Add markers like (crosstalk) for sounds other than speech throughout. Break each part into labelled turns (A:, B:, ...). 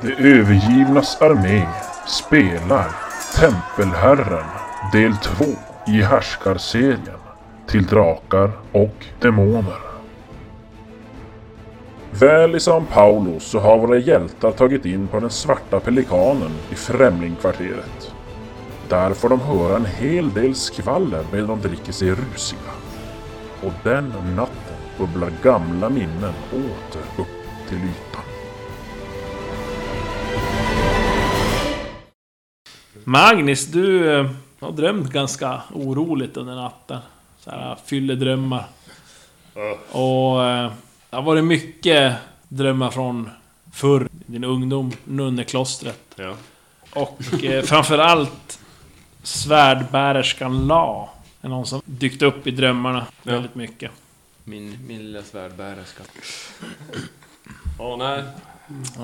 A: Det övergivnas armé spelar Tempelherren del 2 i härskarserien till drakar och demoner. Väl i São Paulo så har våra hjältar tagit in på den svarta pelikanen i Främlingkvarteret. Där får de höra en hel del skvaller medan de dricker sig rusiga. Och den natten bubblar gamla minnen åter upp till ytan.
B: Magnus, du eh, har drömt ganska oroligt under natten. Så här, fylledrömmar. Och... eh, Det har varit mycket drömmar från förr, din ungdom, nunneklostret.
C: Ja.
B: Och eh, framförallt svärdbärerskan La. Är någon som dykt upp i drömmarna
C: Ja.
B: väldigt mycket.
C: Min, min lilla svärdbärerska. Ja, nej.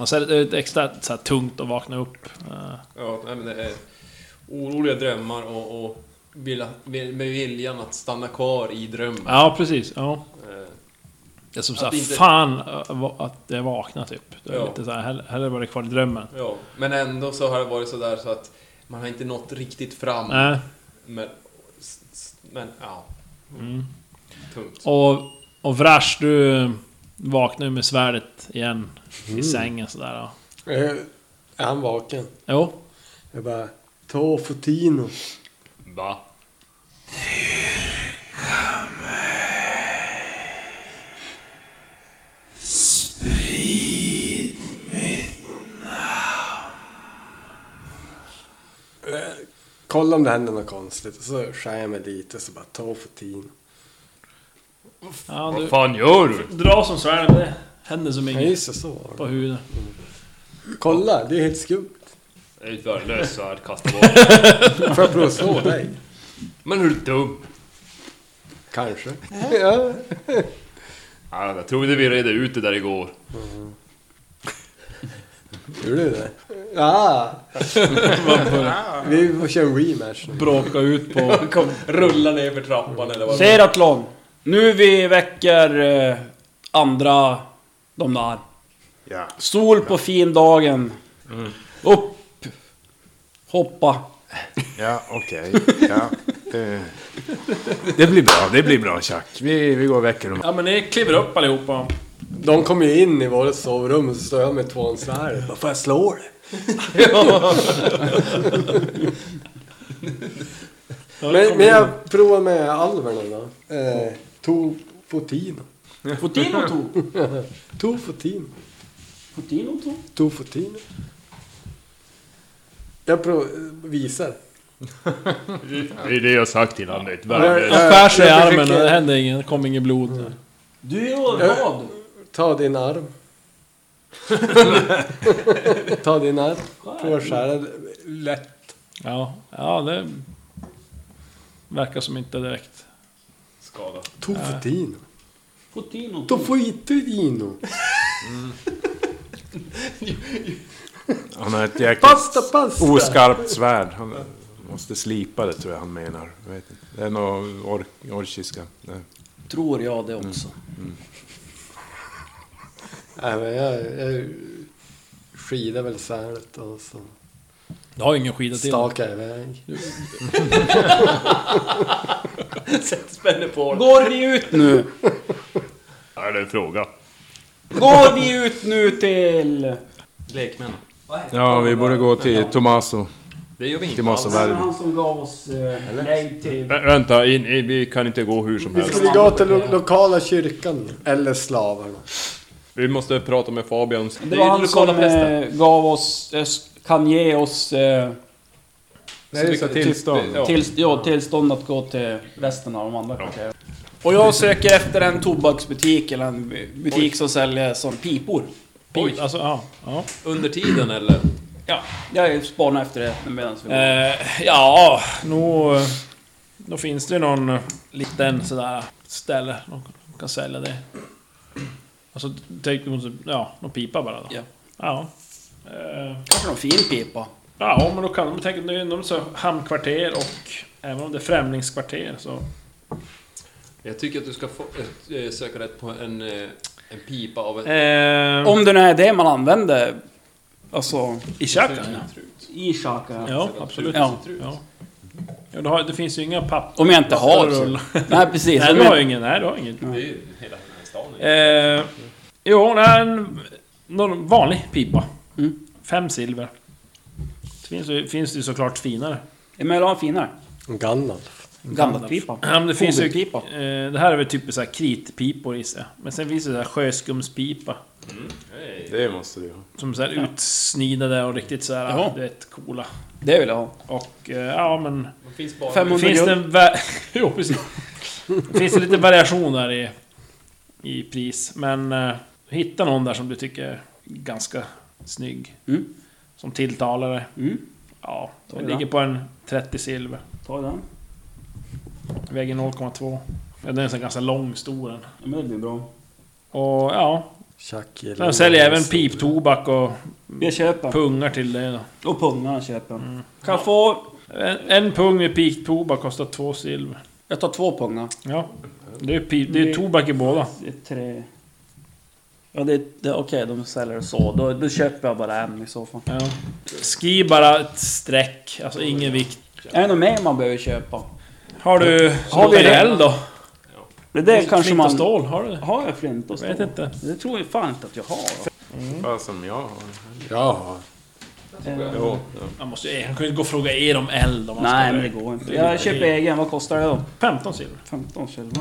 B: Och så är det ett extra så här, tungt att vakna upp. eh,
C: Ja, nej, men det är oroliga drömmar och, och vilja, vill- med viljan att stanna kvar i drömmen.
B: Ja, precis. Ja.
C: Eh,
B: Det är som
C: Att
B: såhär,
C: inte-
B: fan eh, va- att jag vaknar typ. Det är
C: Ja.
B: lite såhär, hellre, hellre var det kvar i drömmen.
C: Ja, men ändå så har det varit sådär så att man har inte nått riktigt fram.
B: Nej.
C: Men, s- s- men ja,
B: Mm.
C: tungt.
B: Och, och Vrash, du vaknar ju med svärdet igen
D: Mm.
B: i sängen sådär. ja.
E: Eh, Är han vaken?
B: Jo,
E: Jag bara, ta Fotino.
C: Va?
E: Kolla om det händer något konstigt. Och så skär jag mig lite så bara, ta Fotino.
B: Ja, du
C: fan gör du?
B: drar som svärden, det händer som
E: Ja
B: inget
E: just det, så var
B: på
E: det.
B: huvudet.
E: Kolla, det är helt skumt.
C: Det är ett värdelöst svärd, kasta bort.
E: Får jag prova att slå dig?
C: (laughs) Men hur dum?
E: Kanske. Ja.
C: Ja, jag trodde vi redde ut det där igår.
E: Gjorde du det? Ja! Vi får köra en rematch nu.
B: Bråka ut
D: (laughs)
B: på...
C: Kom, rulla ner för trappan eller vad
D: Seratlon. Nu vi väcker eh, andra, de där.
F: Ja.
D: Sol på fin dagen. Upp. Hoppa.
F: Ja, okej. Ja. eh. Det blir bra, det blir bra Chuck. Vi, vi går och väcker dem.
B: Ja men ni kliver upp allihopa.
E: De kom ju in i vårt sovrum och så står jag med tvåan så här. Bara, Får jag slå dig? Men, men jag provar med alverna då. Eh, to Fotino.
D: Fotino tog.
E: To Fotino.
D: Fotino tog.
E: To Fotino. Jag prov, visar.
C: Det är det jag har sagt innan, det är ett
E: värdelöst.
B: Han skär sig i
E: Jag
B: armen och
E: försöker- Mm.
B: det händer inget, det kommer inget blod.
D: Du är vad?
E: Ta din
D: (laughs)
E: arm. Ta din arm. Prova att skära lätt.
B: Ja, ja det... Verkar som inte direkt...
C: Skada.
E: To Fotino.
D: Fotino
E: To
D: tog.
E: Fotino.
F: Han har ett jäkligt
E: Pasta, pasta.
F: oskarpt svärd. Han måste slipa det tror jag han menar. Jag vet inte. Det är nog or orkiska. Nej.
D: Tror jag det också.
E: Nej, men jag, jag skidar väl svärdet och så
B: Du har ju ingen skida till.
E: stakar jag iväg.
C: Spänner på den.
D: Går vi ut nu?
C: Är det en fråga?
D: Går vi ut nu till...
C: Lekmän.
F: Ja, vi borde gå till Tommaso.
C: Det gör vi inte
F: Till Massa
D: Det var
F: Värv.
D: han som gav oss eh, nej till...
C: Vä- Vänta, in, in, vi kan inte gå hur som
E: Vi
C: helst.
E: skulle gå till lo- lokala kyrkan eller slavarna.
C: Vi måste prata med Fabian.
D: Det var han som eh, gav oss... eh, Kan ge oss... Eh,
F: Nej, det är så tillstånd.
C: Ja.
D: Till, ja, tillstånd att gå till resten av de andra kvarteren. Och jag söker efter en tobaksbutik eller en bu- butik som säljer som pipor.
B: Oj, alltså, ja. ja.
C: Under tiden eller?
D: Ja, jag spanar efter det medan vi går.
B: Eh, ja, nog... eh, Då finns det ju någon eh, liten sådär ställe de kan sälja det. Och så tänkte hon ja, de pipa bara då.
D: Ja.
B: Ja. Eh,
D: Kanske någon fin pipa.
B: Ja, men då kan de tänka, det är ändå så hamnkvarter och även om det är främlingskvarter så...
C: Jag tycker att du ska få, eh, söka rätt på en, eh, en pipa av en...
B: Eh,
D: Om det nu är det man använder Alltså...
B: I tjackan, ja.
D: I Shaka.
B: Ja, absolut.
D: Ja.
B: Ja. Ja, du har, det finns ju inga papper.
D: Om jag inte har så. Nej, precis.
B: Nej,
D: Om
B: du
D: jag-
B: har ju ingen. Nej, du har ingen.
C: Det är ju hela den här stan.
B: Eh, jo, det är en någon vanlig pipa.
D: Mm.
B: Fem silver. Det finns, ju- finns det ju såklart finare.
D: Men jag vill ha en finare.
E: Gandalf.
D: Gandalfpipa.
B: Ja, men det finns ju...
D: Fågelpipa.
B: Eh, det här är väl typ så här kritpipor gissar jag. Men sen finns det så här sjöskumspipa.
F: Det måste du ha.
B: Som så här utsnidade och riktigt så här,
D: Jaha.
B: du vet, coola.
D: Det vill jag ha.
B: Och eh, ja, men...
C: Det finns bara...
D: 500
B: Finns det,
D: guld.
B: en va- (laughs) jo, precis. finns det lite variation där i, i pris. Men eh, hitta någon där som du tycker är ganska snygg.
D: Mm.
B: Som tilltalar dig.
D: Mm.
B: Ja, den
D: det
B: ligger
D: där.
B: på en 30 silver.
D: Ta den.
B: Väger 0,2. Ja, den är så ganska lång, stor den.
D: Ja, men det blir bra.
B: Och ja,
E: Tjack.
B: den säljer även piptobak och Mm.
D: Jag köper.
B: pungar till dig då.
D: Och pungarna köper jag.
B: Mm.
D: Kan jag få...
B: En, en pung med piptobak kostar två silver.
D: Jag tar två pungar.
B: Ja. Det är, pip, det är tobak i båda.
D: Det är tre... Ja, det, det, okej, de säljer det så. Då, då köper jag bara en i så fall.
B: Ja. Ski bara ett streck, alltså ingen vikt.
D: Är det något mer man behöver köpa?
B: Har du...
D: Har vi
B: PL då?
D: Det där kanske
B: Flint
D: man...
B: och stål, har du det?
D: Har jag flint och
B: Jag
D: stål?
B: vet inte.
D: Det tror jag fan inte att jag har.
F: Bara som jag har.
E: Ja.
F: Jo, ja.
B: Man måste ju... Han kan ju inte gå och fråga er om eld om man ska
D: Nej,
B: ha
D: men det går inte. Jag köper egen. Vad kostar det då?
B: 15 silver.
D: 15 silver.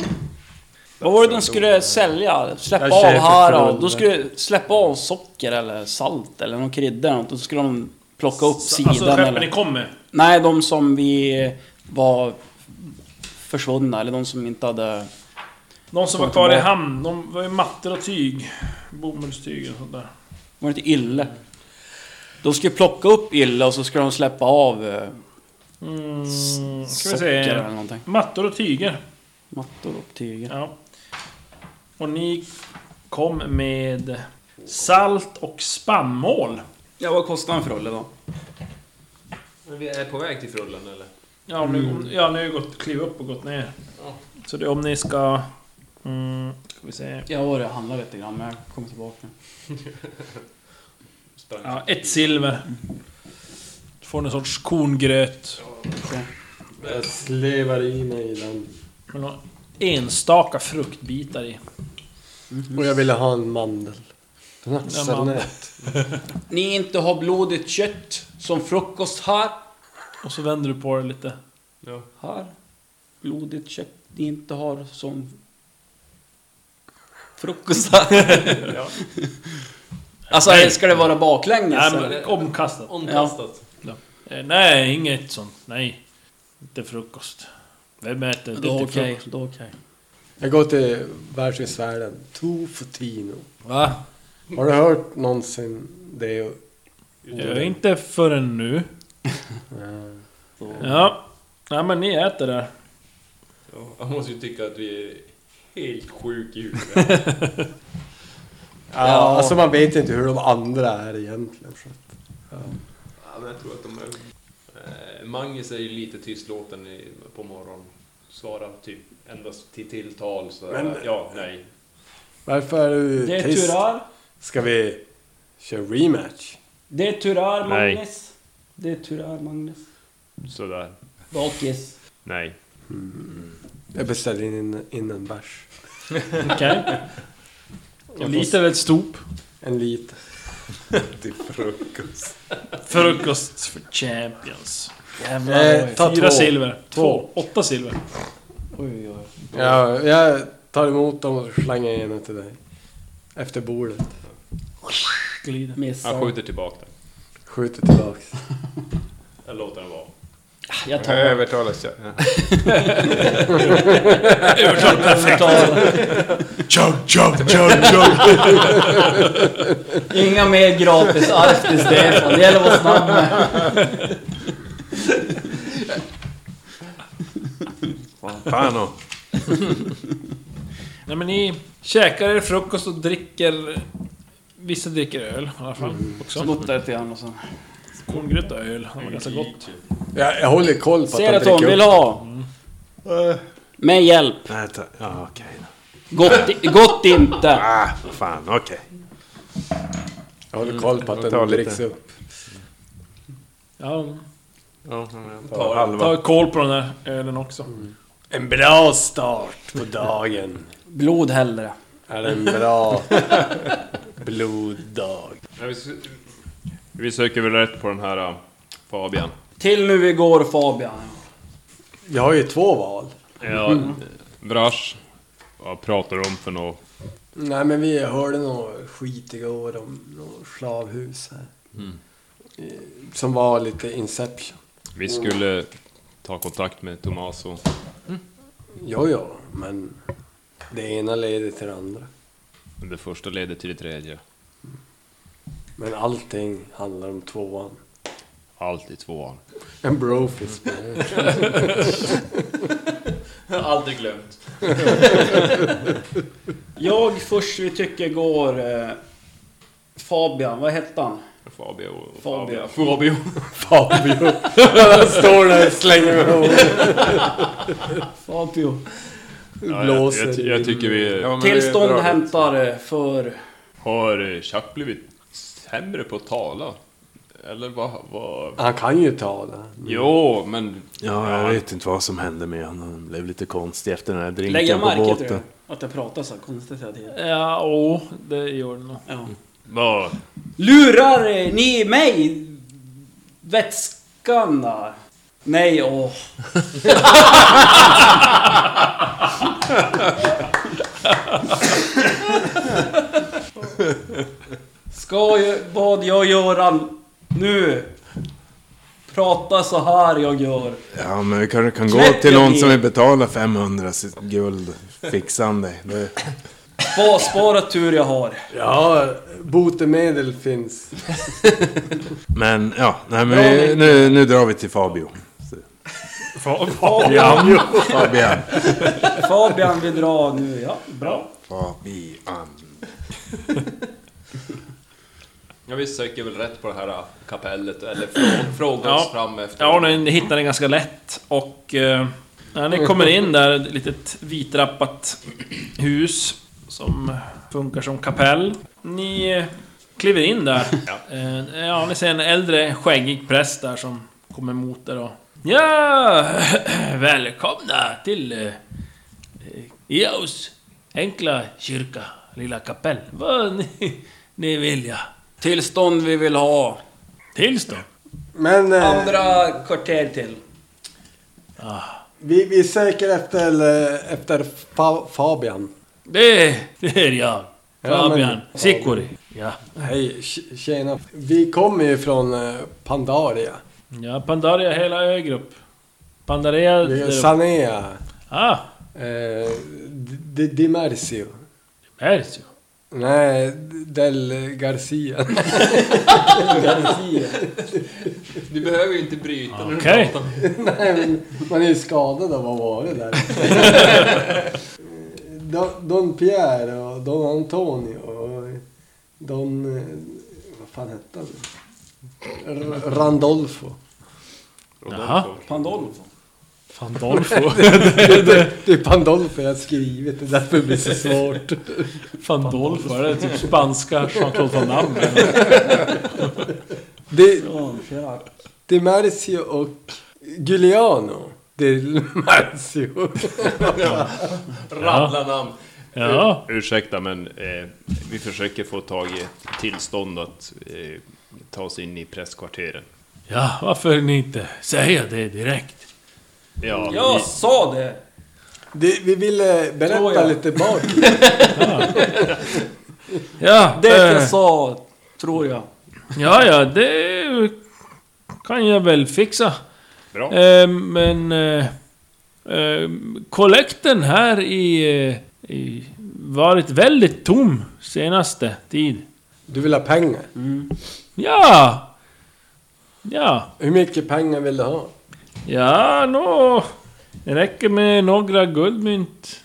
D: Vad var det den skulle sälja? Släppa
E: Jag
D: av
E: köper
D: här
E: full.
D: och Då skulle släppa av socker eller salt eller någon krydda eller något. Då skulle de plocka upp sidan
B: alltså skeppen ni
D: eller...
B: kommer.
D: Nej, de som vi var försvunna eller de som inte hade...
B: De som var kvar i hamn, de var ju mattor och tyg. Bomullstyg och sånt där.
D: Var det inte Ylle? De skulle plocka upp Ylle och så skulle de släppa av eh,
B: Mm, ska vi
D: socker eller
B: se.
D: någonting.
B: Mattor och tyger.
D: Mattor och tyger.
B: Ja. Och ni kom med salt och spannmål.
D: Ja, vad kostar en frulle då?
C: Men vi är på väg till Frullen eller?
B: Ja, om ni, om, ja, ni har ju gått, klivit upp och gått ner. Så det, om ni ska... Mm, ska vi se.
D: Jag var det och handlade lite grann, men jag kommer tillbaka nu.
C: Sprang.
B: Ja, ett silver. Du får en sorts korngröt.
E: Jag slevar i mig den.
B: Med några enstaka fruktbitar i.
E: Och jag ville ha en mandel. Den här
B: Ja,
E: sällan-
D: Ni inte har blodigt kött som frukost här.
B: Och så vänder du på det lite.
D: Här. Blodigt kött ni inte har som frukost här.
B: (laughs) Ja.
D: Alltså ska det vara baklänges?
B: Nej,
D: eller?
B: men omkastat.
C: Omkastat.
B: Eh, Nej, inget sånt. Nej. Inte frukost. Vem äter inte
D: Då okej,
B: frukost?
D: då okej.
E: Jag går till världshusvärlden. Tofutino.
B: Va?
E: Har du hört någonsin det?
B: Eh, inte förrän nu. (laughs) Ja. Nej, men ni äter där.
C: Ja, han måste ju tycka att vi är helt sjuk i huvudet.
E: Ja. Alltså man vet inte hur de andra är egentligen. Så.
C: ja, men jag tror att de är... Eh, Magnus är ju lite tystlåten i, på morgonen. Svarar typ endast till tilltal så
E: Men-
C: ja, nej.
E: Varför är du
D: Det är
E: tyst?
D: Turar.
E: Ska vi köra rematch?
D: Det är Turar,
C: Nej.
D: Magnus. Det är Turar, Magnus.
C: Sådär.
D: Bakis.
C: Nej.
E: Jag beställer in, in en bärs.
B: Okej. (laughs) En liter eller ett stop?
E: En liter.
F: Till frukost.
B: Frukost för champions.
E: Eh, ta
B: Fyra
E: två.
B: silver. Två.
E: Två.
B: Åtta silver.
D: Oj, oj.
E: Ja, jag tar emot dem och slänger in den till dig. Efter bordet.
B: Glider.
C: Han
D: Missar.
C: skjuter tillbaka den.
E: Skjuter tillbaks.
C: Jag låter den vara.
D: Jag tar
F: Jag övertalas jag.
C: (laughs)
F: Ja.
B: (laughs)
A: Chug, chug, chug, chug!
D: Inga mer gratis arv till Stefan. Det gäller att vara snabb med.
F: Fan och.
B: Nej men ni käkar er frukost och dricker... Vissa dricker öl i alla fall
D: Så
B: också.
D: luttar jag till honom och sen.
B: Korngröt och öl, det var ganska gott.
E: Jag, jag håller koll på
D: Ser
E: att
D: att hon
E: han
D: vill
E: dricker upp.
D: ha.
F: Eh.
D: Med hjälp.
F: Nej, ta- ja, okej då.
D: Gott, gott inte.
F: Ah, vad fan, okej.
E: Jag håller koll på att
F: Ta
E: den
F: lite.
E: dricks upp.
B: Ja,
C: Ja, ja, ja.
F: Ta halva.
B: ta koll på den här ölen också.
E: En bra start på dagen.
D: Blod hellre.
E: Är en bra (laughs) bloddag.
C: Ja, vi, s- vi söker väl rätt på den här äh, Fabian.
D: Till nu vi går Fabian.
E: Jag har ju två val.
C: Ja, Vrash. Vad pratar du om för något?
E: Nej men vi hörde något skit igår om något slavhus här.
F: Mm.
E: Eh, Som var lite Inception.
C: Vi skulle ta kontakt med Tomaso.
E: Jo, jo, men det ena leder till det andra.
C: Men det första leder till det tredje.
E: Men allting handlar om tvåan.
C: Allt i tvåan.
E: En brofist.
D: Aldrig glömt. jag först vi tycker går eh, Fabian, vad hette han?
C: Fabio och
D: Fabio.
C: Fabio.
E: Fabio. Han står där och slänger med håret.
D: Fabio.
C: Ja, jag, (laughs)
E: Blåser
C: jag,
E: i
C: jag tycker vi...
F: Ja, men det är
D: Tillstånd
F: bra.
D: hämtar eh, för...
C: Har eh, Chuck blivit sämre på att tala? Eller vad... vad...
E: Han kan ju tala.
C: Jo, men...
F: Ja, jag vet inte vad som hände med honom. Han blev lite konstig efter den här
D: Lägga
F: drinken på
D: märke till
F: båten.
D: det. Att det pratas så konstigt hela tiden.
B: Ja, åh, det gör den nog.
D: Ja.
C: Vad...
D: Lurar eh, ni mig? Vätskan där? Nej, åh. Ska jag, vad jag göra nu? Prata så här jag gör.
F: Ja, men vi kanske kan gå
D: Knäcker
F: till någon
D: vi.
F: som vill betala 500 sitt guld. Fixa han dig. Det...
D: Spa- Spara tur jag har.
E: Ja, botemedel finns.
F: Men ja, nej, men vi, nu, nu drar vi till Fabio.
D: Fabian,
F: Fabian.
D: Fabian vi drar nu, ja. Bra.
F: Fabian.
C: Ja, vi söker väl rätt på det här äh, kapellet, eller (clears throat) frå- frågar
B: Ja.
C: oss fram efter...
B: Ja, ni hittar den ganska lätt och... Eh, när ni kommer in där, ett litet vitrappat hus som funkar som kapell. Ni eh, kliver in där. Ja, eh, ja ni ser en äldre skäggig präst där som kommer emot er och... Ja, (clears throat) välkomna till... Eh, Jaus enkla kyrka, lilla kapell. Vad ni, ni vill ja.
D: Tillstånd vi vill ha.
B: Tillstånd?
E: Men eh,
D: Andra kvarter till.
E: vi, vi söker efter, eh, efter fa Fabian.
B: Det, det är jag.
E: Ja, men-
B: Fabian Sikori. Ja.
E: Hej, tj- tjena. Vi kommer ju från eh, Pandaria.
B: ja, Pandaria hela ögrupp. Pandaria...
E: Vi är Sanea.
B: Ah,
E: Eh, Di- Di Mercio.
B: Persio.
E: Nej, Del Garcia.
C: Du behöver ju inte bryta när du
B: Okej.
C: pratar.
E: Nej, men man är ju skadad av att vara där. Don, Don Pierre och Don Antonio och Don... eh, Vad fan hette han? R- Randolfo.
B: Jaha.
D: Pandolfo.
B: Fandolfo.
E: Det är Pandolfo jag har skrivit, det är därför det blir så svårt.
B: Fandolfo, är det typ spanska Jean-Claude Van
E: (laughs)
B: Damme?
E: Det, det är Mercio och Giuliano. Det är Mercio.
C: Rabbla namn.
B: Ja.
C: Ursäkta, men eh, vi försöker få tag i ett tillstånd att eh, ta oss in i presskvarteren.
B: Ja, varför ni inte säga det direkt?
C: Ja,
D: Jag
C: vi-
D: sa det!
E: Det, vi ville
D: Tror
E: berätta
D: jag.
E: lite bak.
B: Ja,
D: Det
B: eh,
D: jag sa, tror jag.
B: Ja, ja, det kan jag väl fixa.
C: bra.
B: Eh, men... eh, eh, Kollekten här i, eh, i... Varit väldigt tom senaste tid.
E: Du vill ha pengar.
B: Ja! Ja,
E: Hur mycket pengar vill du ha?
B: ja, nå... Det räcker med några guldmynt.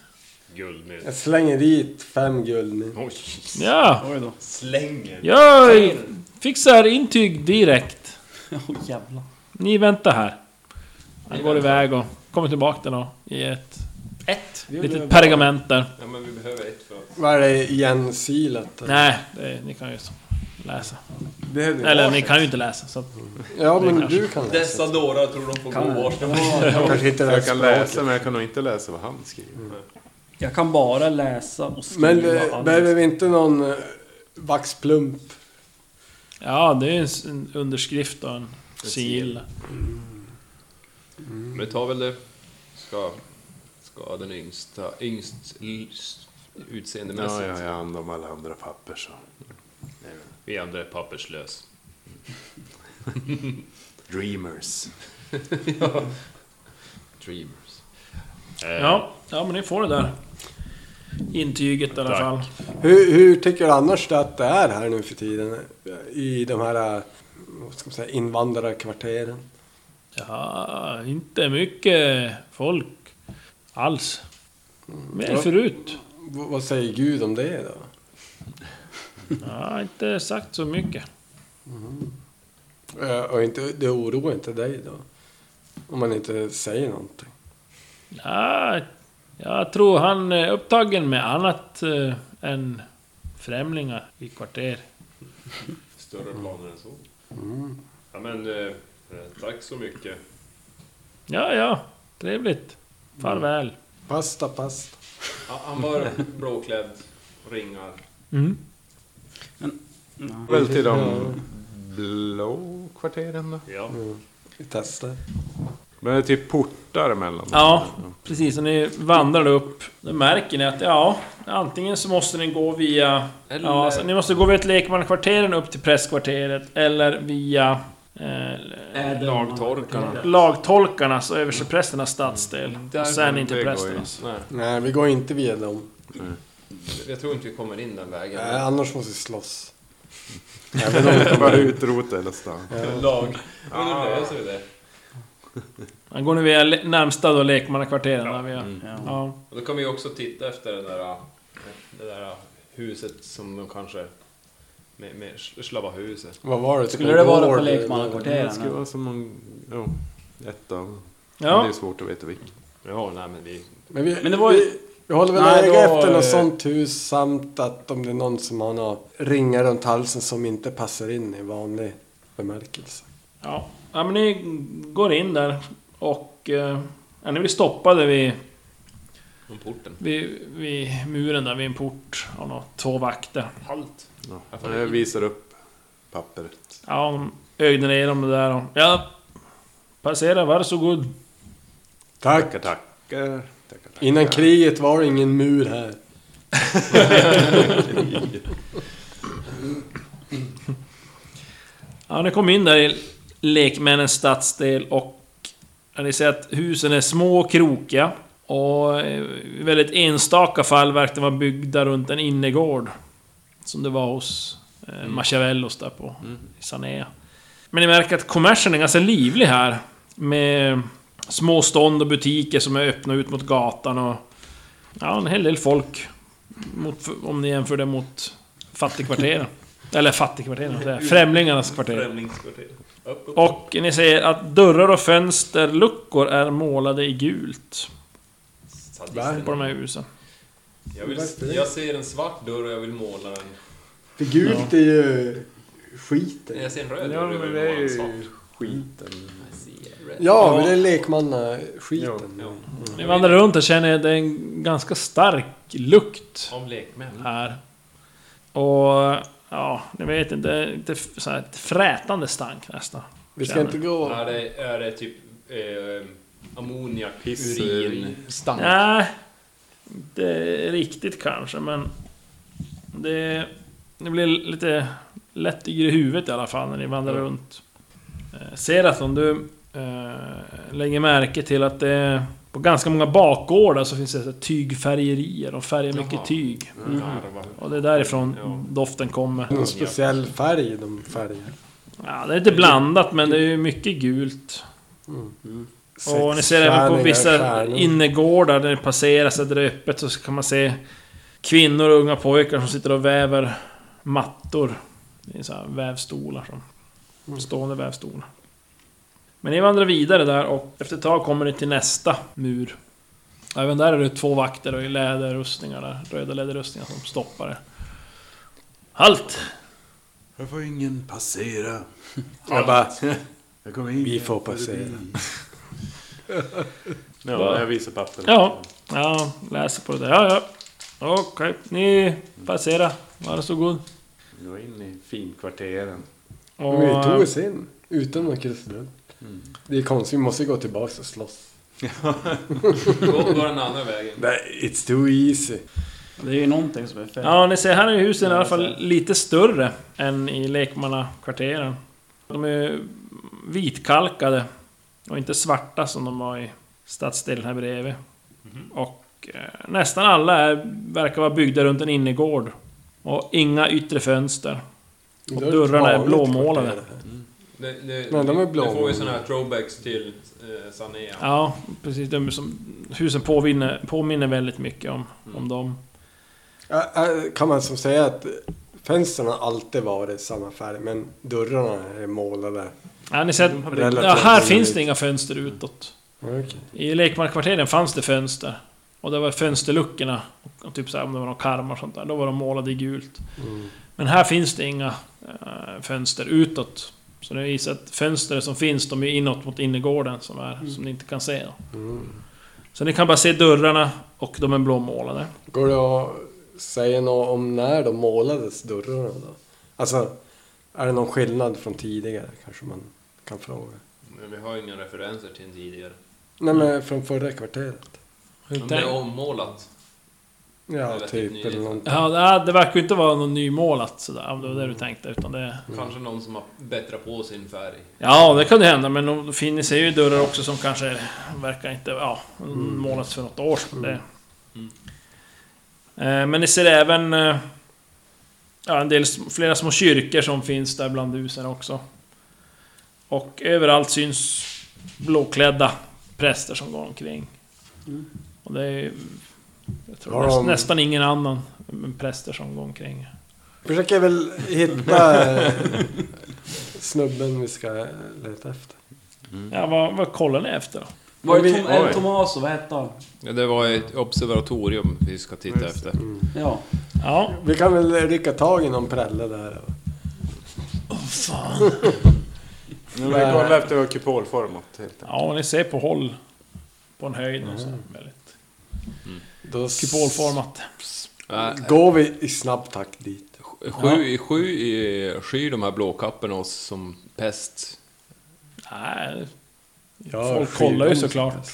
C: Guldmynt.
E: Jag slänger dit fem guld nu.
C: Oj,
B: Ja,
D: Oj då.
C: slänger.
B: jag fixar intyg direkt.
D: Åh jävlar.
B: Ni väntar här. Han går iväg och kommer tillbaka den och ger ett, ett litet pergament där.
C: Ja, men vi behöver ett för...
E: Vad är det igensilat?
B: Nej, det, ni kan ju så. läsa.
D: Behöver ju
B: Eller
D: vara
B: ni
D: så.
B: kan ju inte läsa. Så att,
E: Ja, men
B: kanske-
E: du kan läsa.
C: Dessa dårar tror de får gå varsin.
E: Jag kanske inte
F: Jag kan
E: läser
F: läsa men jag kan nog inte läsa vad han skriver.
D: (laughs) Jag kan bara läsa och skriva.
E: Men eh,
D: allt.
E: behöver vi inte någon eh, vaxplump?
B: ja, det är ju en s- en underskrift och en sigill.
C: Men ta väl det. Ska, ska den yngsta, yngst lyst- utseendemässigt.
F: Ja, jag har hand om alla andra papper så.
C: Vi andra är papperslös.
F: Dreamers.
C: Dreamers.
B: Ja, ja, men ni får det där. Intyget i alla
C: Tack.
B: fall.
E: Hur, hur tycker du annars att det är här nu för tiden? I de här, eh, vad ska man säga, invandrarkvarteren?
B: Ja, inte mycket folk alls. Mer förut.
E: V vad säger Gud om det då?
B: Ja, inte sagt så mycket.
E: Eh, Och inte, det oroar inte dig då? Om man inte säger någonting.
B: Ja, Ah, jag tror han är upptagen med annat eh, än främlingar i kvarter.
C: Större planer än så. Ja men, eh, eh, tack så mycket.
B: Ja, ja. Trevligt. Farväl.
E: Pasta, pasta.
C: Ja, Han (laughs) var blåklädd, ringar.
B: Mm.
F: Väl till de blå kvarteren då?
C: Ja.
E: Vi testar.
F: Men det är typ portar emellan.
B: Ja, precis. Och ni vandrar upp. Då märker ni att, ja, antingen så måste ni gå via...
C: Eller-
B: Ja, alltså, ni måste gå via lekmannakvarteren upp till presskvarteret, eller via... Eh,
C: Lagtorkarna.
B: lagtolkarnas och översteprästernas stadsdel.
C: Mm. Där
B: Och sen
C: går
B: inte
F: det gå
B: prästernas.
C: Nej,
E: Nej, vi går inte via dem.
C: jag tror inte vi kommer in den vägen.
E: Nej, annars måste vi slåss.
F: Bara utrota hela stan.
C: (laughs) Lag. Men det löser vi det.
B: Ja, Går ni via le- närmsta då lekmannakvarteren? där via-
C: Mm.
B: Ja.
C: Och då kan vi också titta efter det där, eh, det där huset som de kanske... Med, med sl- Slavahuset.
E: Vad var det?
D: Skulle det vara
E: eh,
D: på
F: Det skulle
D: lekmannakvarteren?
F: vara som någon... Ja, ett av... Men det
B: Ja,
F: är svårt att veta vilket.
C: Ja, nej men vi...
E: Men vi,
D: Men det var ju-
E: vi, vi håller väl
D: Nej,
E: öga
D: då,
E: efter något
D: eh,
E: sånt hus samt att om det är någon som har några ringar runt halsen som inte passar in i vanlig bemärkelse.
B: ja. ja, men ni går in där och... Eh, ja, ni blir stoppade vid,
C: Om porten.
B: vid, vid muren där, vid en port av några, två vakter.
C: Halt.
F: Ja.
C: Jag får-
F: Jag visar upp pappret.
B: Ja, de ögde ner dem där och... Ja, passera, varsågod.
E: Tack!
F: Tackar, tackar. tackar, tackar.
E: Innan kriget var det ingen mur här.
B: Ja, ni kom in där i lekmännens stadsdel och... Ja, ni ser att husen är små och krokiga. Och eh, i väldigt enstaka fall verkar de vara byggda runt en innergård. Som det var hos eh, Machiavellos där på i Sanea. Men ni märker att kommersen är ganska livlig här. Med små stånd och butiker som är öppna ut mot gatan och... Ja, en hel del folk. Mot, om ni jämför det mot fattigkvarteren. Eller fattigkvarteren, vad säger jag? främlingarnas kvarter.
C: Främlingskvarter. Upp, upp.
B: Och ni ser att dörrar och fönsterluckor är målade i gult
C: Sadisterna.
B: på de här husen.
C: Jag, vill, jag ser en svart dörr och jag vill måla den.
E: För gult är ju skiten.
C: Nej, jag ser en röd
F: Ja,
C: dörr och jag vill
F: men det
C: måla
F: är
C: en svart.
F: ju skiten.
E: Ja, men det är lekmannaskiten.
C: Ja.
B: Ni vandrar runt och känner att det är en ganska stark lukt
C: Om lekmän.
B: här. Och... Ja, ni vet inte... inte f- så här, ett frätande stank nästan.
E: Vi ska inte gå...
C: Är det, är det typ eh, ammoniak,
F: Piss,
C: urin,
F: urin.
C: stank?
B: Nej, inte riktigt kanske, men... Det, det blir lite lätt yr i huvudet i alla fall när ni vandrar runt. Eh, Ser att om du eh, lägger märke till att det... På ganska många bakgårdar så finns det så här tygfärgerier. De färgar mycket tyg.
C: Mm.
B: Och det är därifrån doften kommer.
E: Någon speciell färg de färgar.
B: Ja, det är inte blandat, men det är ju mycket gult. Och ni ser även på
E: Sexstjärningar,
B: vissa
E: stjärnor.
B: innergårdar där det passeras, där det är öppet, så kan man se kvinnor och unga pojkar som sitter och väver mattor. Det är så här vävstolar som... Stående vävstolar. Men ni vandrar vidare där och efter ett tag kommer ni till nästa mur. Även där är det två vakter och i läderrustningar där, röda läderrustningar som stoppar er. Halt!
F: Här får ingen passera. Jag bara... Jag kommer in.
G: Vi får passera.
B: Va?
G: Ja, jag visar papper.
B: Ja, ja, läser på det där. Ja, ja. Okej, ni passerar. Varsågod.
G: Vi går in i finkvarteren.
B: Och, eh,
E: Men vi tog oss in utan något krusidull. Det är konstigt, vi måste gå tillbaka och slåss.
C: Gå gå den andra vägen.
E: Nej, it's too easy.
D: Det är ju någonting som är fel.
B: Ja, ni ser här är husen i alla fall lite större än i lekmannakvarteren. De är vitkalkade och inte svarta som de var i stadsdelen här bredvid. Och eh, nästan alla är, verkar vara byggda runt en innergård. Och inga yttre fönster. Och
E: Det är ett
B: dörrarna är
E: vanligt
B: blåmålade.
E: kvarter det här.
C: Nu, nu,
E: Men de är
C: nu
E: blå.
C: får vi såna här throwbacks till eh, Sanea.
B: Ja, precis. De som, husen påminner, påminner väldigt mycket om, om dem.
E: Ja, ja, Kan man så säga att fönstren har alltid varit samma färg men dörrarna är målade.
B: Ja, ni ser, att-
E: Relativt
B: ja, här
E: väldigt.
B: finns det inga fönster utåt. I lekmannakvarteren fanns det fönster. Och det var fönsterluckorna. Och typ så här, om det var några karmar och sånt där. Då var de målade i gult. Men här finns det inga eh, fönster utåt. Så det visar att fönster som finns, de är inåt mot innergården som, är, som ni inte kan se. Då. Så ni kan bara se dörrarna och de är blåmålade.
E: Går det att säga något om när de målades dörrarna då? Alltså, är det någon skillnad från tidigare kanske man kan fråga?
C: Men vi har ju inga referenser till tidigare.
E: Nej men från förra kvarteret.
B: Hur
C: Men det är
B: tänk-
C: ommålat.
E: Ja,
C: Relativt
E: typ
C: nyligen.
E: eller någonting.
B: Ja, det, här- det verkar ju inte vara något nymålat sådär, om det var det du tänkte. Utan det,
C: Kanske någon som har bättrat på sin färg.
B: ja, det kunde hända, men de finns ju dörrar också som kanske verkar inte... Ja, målats för något år sedan. Det. Eh, Men ni ser även... eh, Ja, en del, sm- flera små kyrkor som finns där bland husen också. Och överallt syns blåklädda präster som går omkring. Och det är... Jag tror
E: Har de-
B: näst- nästan ingen annan än präster som går omkring.
E: Försöker väl hitta eh, snubben vi ska leta efter. Mm.
B: Ja, vad, vad kollar ni efter då?
D: Var det
E: Men vi-
D: Tom, eh,
C: oj.
D: Tomas och vad hette han?
C: Ja, det var ett observatorium vi ska titta efter.
D: Ja.
B: Ja,
E: Vi kan väl rycka tag i någon prälle där.
F: Nu har vi kollat efter vad kupolformat helt
B: ja och ni ser på håll. På en höjd och
E: Mm.
B: så. Väldigt
E: Då s-
B: kupolformat.
E: Går vi i snabb takt dit.
C: Äh, Sju, sju skyr de här blåkapporna oss som pest.
B: Nej,
E: Ja,
B: folk
E: skyr
B: kollar ju
E: dem.
B: såklart.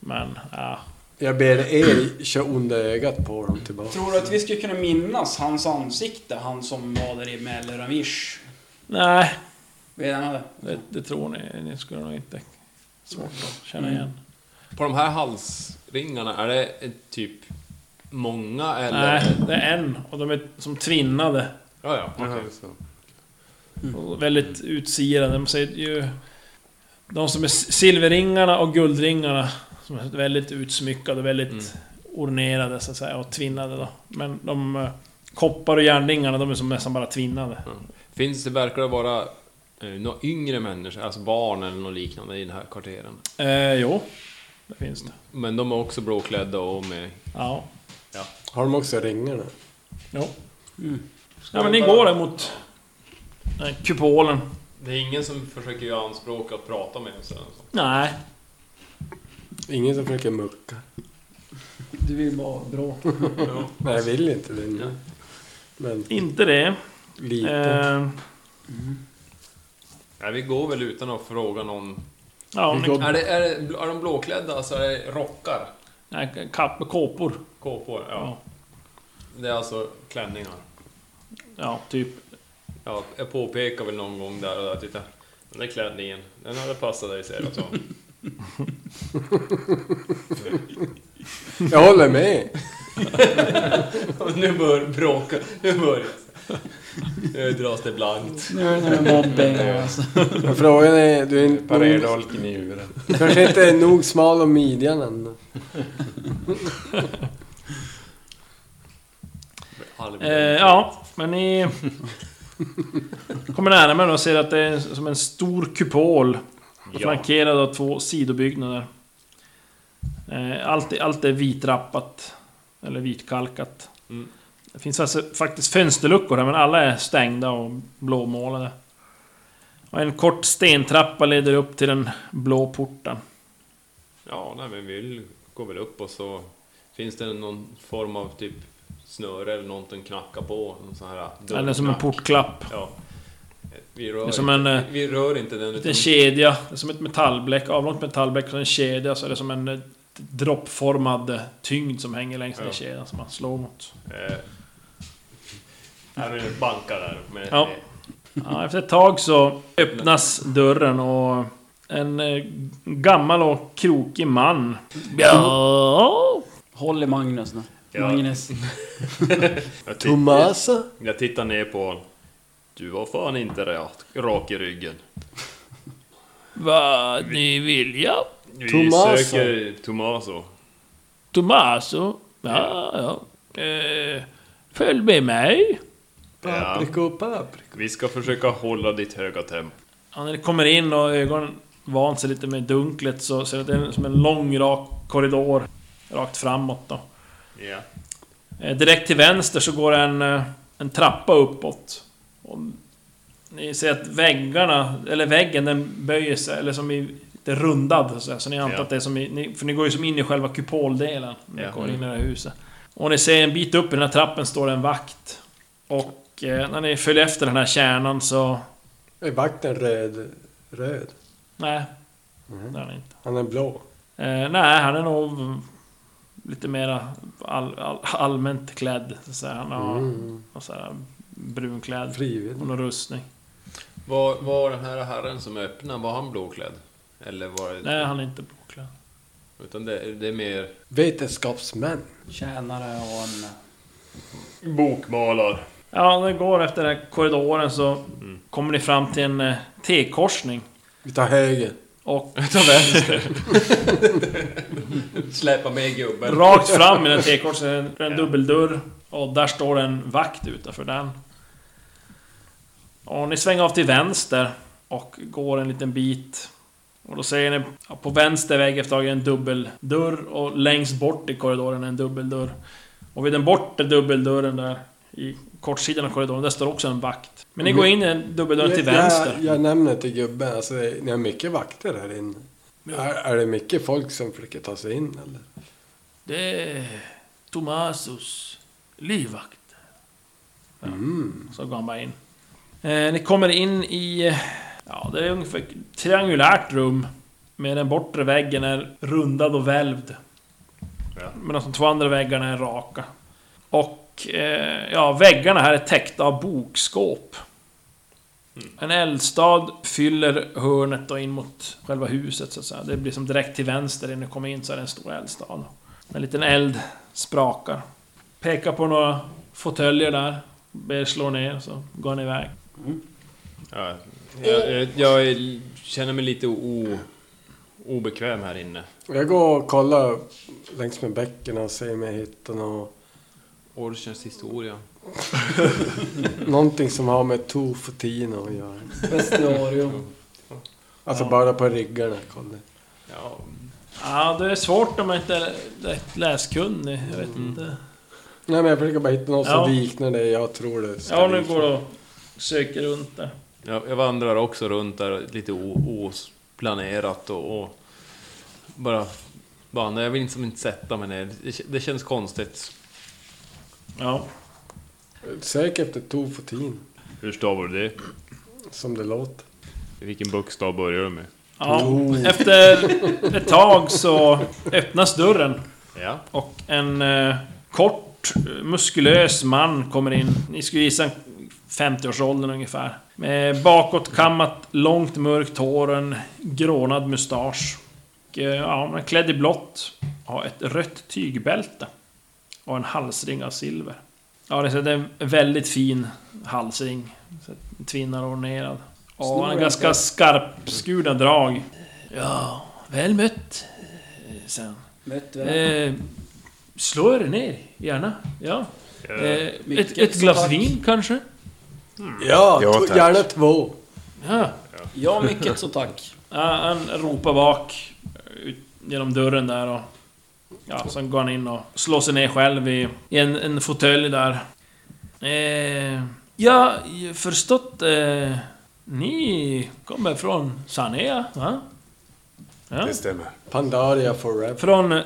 B: Men, ja.
E: Jag ber er köra onda ögat på dem tillbaka.
D: Tror du att vi skulle kunna minnas hans ansikte? Han som var där i Melleramish?
B: Nej,
D: Vet han det?
B: det, det tror ni. Ni skulle nog inte... Svårt att känna igen.
E: Mm.
C: På de här halsringarna, är det ett typ många eller?
B: Nej, det är en. Och de är som tvinnade.
C: Ja, ja. okej.
E: Mm.
B: Och väldigt utsirade. De ser ju... De som är silverringarna och guldringarna som är väldigt utsmyckade, väldigt
E: Mm.
B: ornerade så att säga och tvinnade då. Men de eh, koppar och järnringarna, de är som nästan bara tvinnade.
C: Finns det, verkar det vara eh, några yngre människor, alltså barn eller något liknande i den här kvarteren?
B: Eh, jo, det finns det.
C: Men de är också blåklädda och med...
B: Ja,
E: Har de också ringarna?
B: jo.
E: Mm.
B: Ja men ni går där mot eh, kupolen.
C: Det är ingen som försöker göra anspråk att prata med oss eller så.
B: Nej,
E: Ingen som försöker mucka?
D: Du vill bara bråka.
E: Nej, jag vill inte det nu. Men
D: Eh.
B: inte det.
E: lite.
B: Eh,
C: Nej, vi går väl utan att fråga någon.
B: ja,
E: Vi
B: ni,
E: går-
C: Är, det, är, det, är de blåklädda så är det rockar?
B: nej, kapp, kåpor.
C: Kåpor? Ja.
B: Ja.
C: Det är alltså klänningar.
B: Ja, typ.
C: Ja, jag påpekar väl någon gång där och där, titta. Den där klänningen, den hade passat dig säger jag så.
E: Jag håller med.
C: Och (laughs) nu börjar bråka, nu börjar Nu dras det blankt.
D: Nu är det mobbing alltså.
E: Men frågan är, du är inte, nog,
G: Parerdolken i huvudet.
E: du kanske inte är nog smal om midjan än.
C: Halv-
B: Eh, ja, men ni... Kommer närmare och ser att det är som en stor kupol.
C: Ja.
B: Flankerad av två sidobyggnader. Eh, allt, är- allt är vitrappat. Eller vitkalkat.
C: Mm.
B: Det finns alltså faktiskt fönsterluckor här, men alla är stängda och blåmålade. Och en kort stentrappa leder upp till den blå porten.
C: Ja, nej, men vi går väl upp och så finns det någon form av typ snöre eller någonting knacka på. Någon sån här
B: Eller som en
C: dörrknack.
B: portklapp.
C: Ja. Vi rör,
B: Det är som en, eh,
C: vi rör inte den.
B: Det är en kedja, det är som ett metallbläck, avlångt metallbläck och så en kedja så är det som en eh, droppformad eh, tyngd som hänger längs den
C: Ja.
B: kedjan som man slår mot.
C: Eh, nej, men bankar där. Med,
B: Ja. Ja, efter ett tag så öppnas dörren och en eh, gammal och krokig man. Ja.
D: Håll i Magnus nu.
C: Ja.
D: Magnus.
C: Jag, tittar,
E: Tomasa?
C: jag tittar ner på honom. Du var fan inte rak, rak i ryggen.
B: Vad ni vilja?
C: Vi
E: Tommaso.
C: söker Tommaso.
B: Tommaso? Ja, ja. Eh, följ med mig.
E: Papriko, papriko.
C: Vi ska försöka hålla ditt höga tempo.
B: Ja, när det kommer in och ögonen vant sig lite med dunklet så ser det ut som en lång rak korridor. Rakt framåt då.
C: Ja.
B: Eh, Direkt till vänster så går en, eh, en trappa uppåt. Och ni ser att väggarna, eller väggen, den böjer sig, eller som i lite rundad. så här. Så ni antar
C: Ja.
B: att det är som i, ni- För ni går ju som in i själva kupoldelen när ni
C: Ja. Mm.
B: kommer in i det här huset. Och ni ser en bit upp i den här trappen står det en vakt. Och eh, när ni följer efter den här kärnan så...
E: Är vakten röd? Röd?
B: Nej,
C: Mm.
B: det är han inte.
E: Han är blå.
B: Eh, nej, han är nog mm, lite mer all, all, allmänt klädd. Så här. han har
E: Mm.
B: någon så här brunklädd. Och
E: Frivillig.
B: någon rustning.
C: Var, var den här herren som öppnade, var han blåklädd? Eller var det...
B: Nej, han är inte blåklädd.
C: Utan det, det är mer...
E: Vetenskapsmän.
D: Tjänare och en...
C: Bokmalar.
B: Ja, när ni går efter den här korridoren så
E: Mm.
B: kommer ni fram till en eh, T-korsning.
E: Vi tar höger. (laughs)
B: Och
C: Släpa med gubben.
B: rakt fram i den T-korsningen är en dubbeldörr. Och där står en vakt utanför den. Och ni svänger av till vänster och går en liten bit. Och då ser ni ja, på vänster väg efter taget en dubbeldörr och längst bort i korridoren är en dubbeldörr. Och vid den bortre dubbeldörren där i kortsidan av korridoren, där står också en vakt. Men ni går in i en dubbeldörr till vänster.
E: Jag, jag nämner till gubben, alltså det- ni har mycket vakter här inne. Är, är det mycket folk som försöker ta sig in eller?
B: Det är Tomasos livvakt. Så går han bara in. Eh, ni kommer in i... eh, Ja, det är ungefär ett triangulärt rum. Med den bortre väggen är rundad och välvd.
C: Ja.
B: Medan de två andra väggarna är raka. Och eh, ja, väggarna här är täckta av bokskåp. En eldstad fyller hörnet och in mot själva huset så att säga. Det blir som direkt till vänster innan du kommer in så är det en stor eldstad. En liten eld sprakar. Pekar på några fåtöljer där. Ber slå ner så går han iväg.
C: Ja. Jag, jag, jag känner mig lite o, obekväm här inne.
E: Jag går och kollar längs med bäcken och ser om jag hittar något,
C: Orchens historia.
E: någonting som har med Tofotino att göra.
D: Vestinorium.
E: Alltså bara på ryggarna kolla.
C: Ja,
B: Ja, det är svårt om man inte är rätt läskunnig. Jag vet inte.
E: Nej men jag försöker bara hitta något
B: Ja.
E: som liknar det jag tror det ska
B: Ja, nu
E: likna.
B: går det och söker runt där.
C: jag, jag vandrar också runt där lite o- oplanerat och, och bara vandrar. Jag vill liksom inte sätta mig ner. Det, det känns konstigt.
B: Ja.
E: Sök efter Tofotino,
C: Hur stavar du det?
E: som det låter.
C: Vilken bokstav börjar du med?
B: ja. Efter ett tag så öppnas dörren.
C: Ja.
B: Och en eh, kort, muskulös man kommer in. Ni skulle gissa 50-årsåldern ungefär. Med bakåtkammat, långt mörkt hår och en grånad mustasch. Och, eh, ja, han är klädd i blått. Har ett rött tygbälte. Och en halsring av silver. Ja, det är så- det är en väldigt fin halsring. Så att den Tvinnar och ornerad. Och han har ganska skarpskurna drag. Ja, väl mött, eh, sen.
D: Mötte vi den?
B: Eh, slå er ner, gärna. Ja. Eh, ett,
D: mycket
B: ett glas
D: tack.
B: vin kanske?
E: Ja,
F: Ja,
E: t-
F: tack.
E: gärna två.
B: Ja.
D: Ja, mycket så tack.
B: Ah, han ropar bak eh, ut genom dörren där och... Ja, sen går han in och slår sig ner själv i, i en, en fåtölj där. Eh, jag har förstått... Eh, ni kommer från Sanea, va? Ja.
F: Det stämmer.
E: Pandaria forever.
B: Från... (laughs)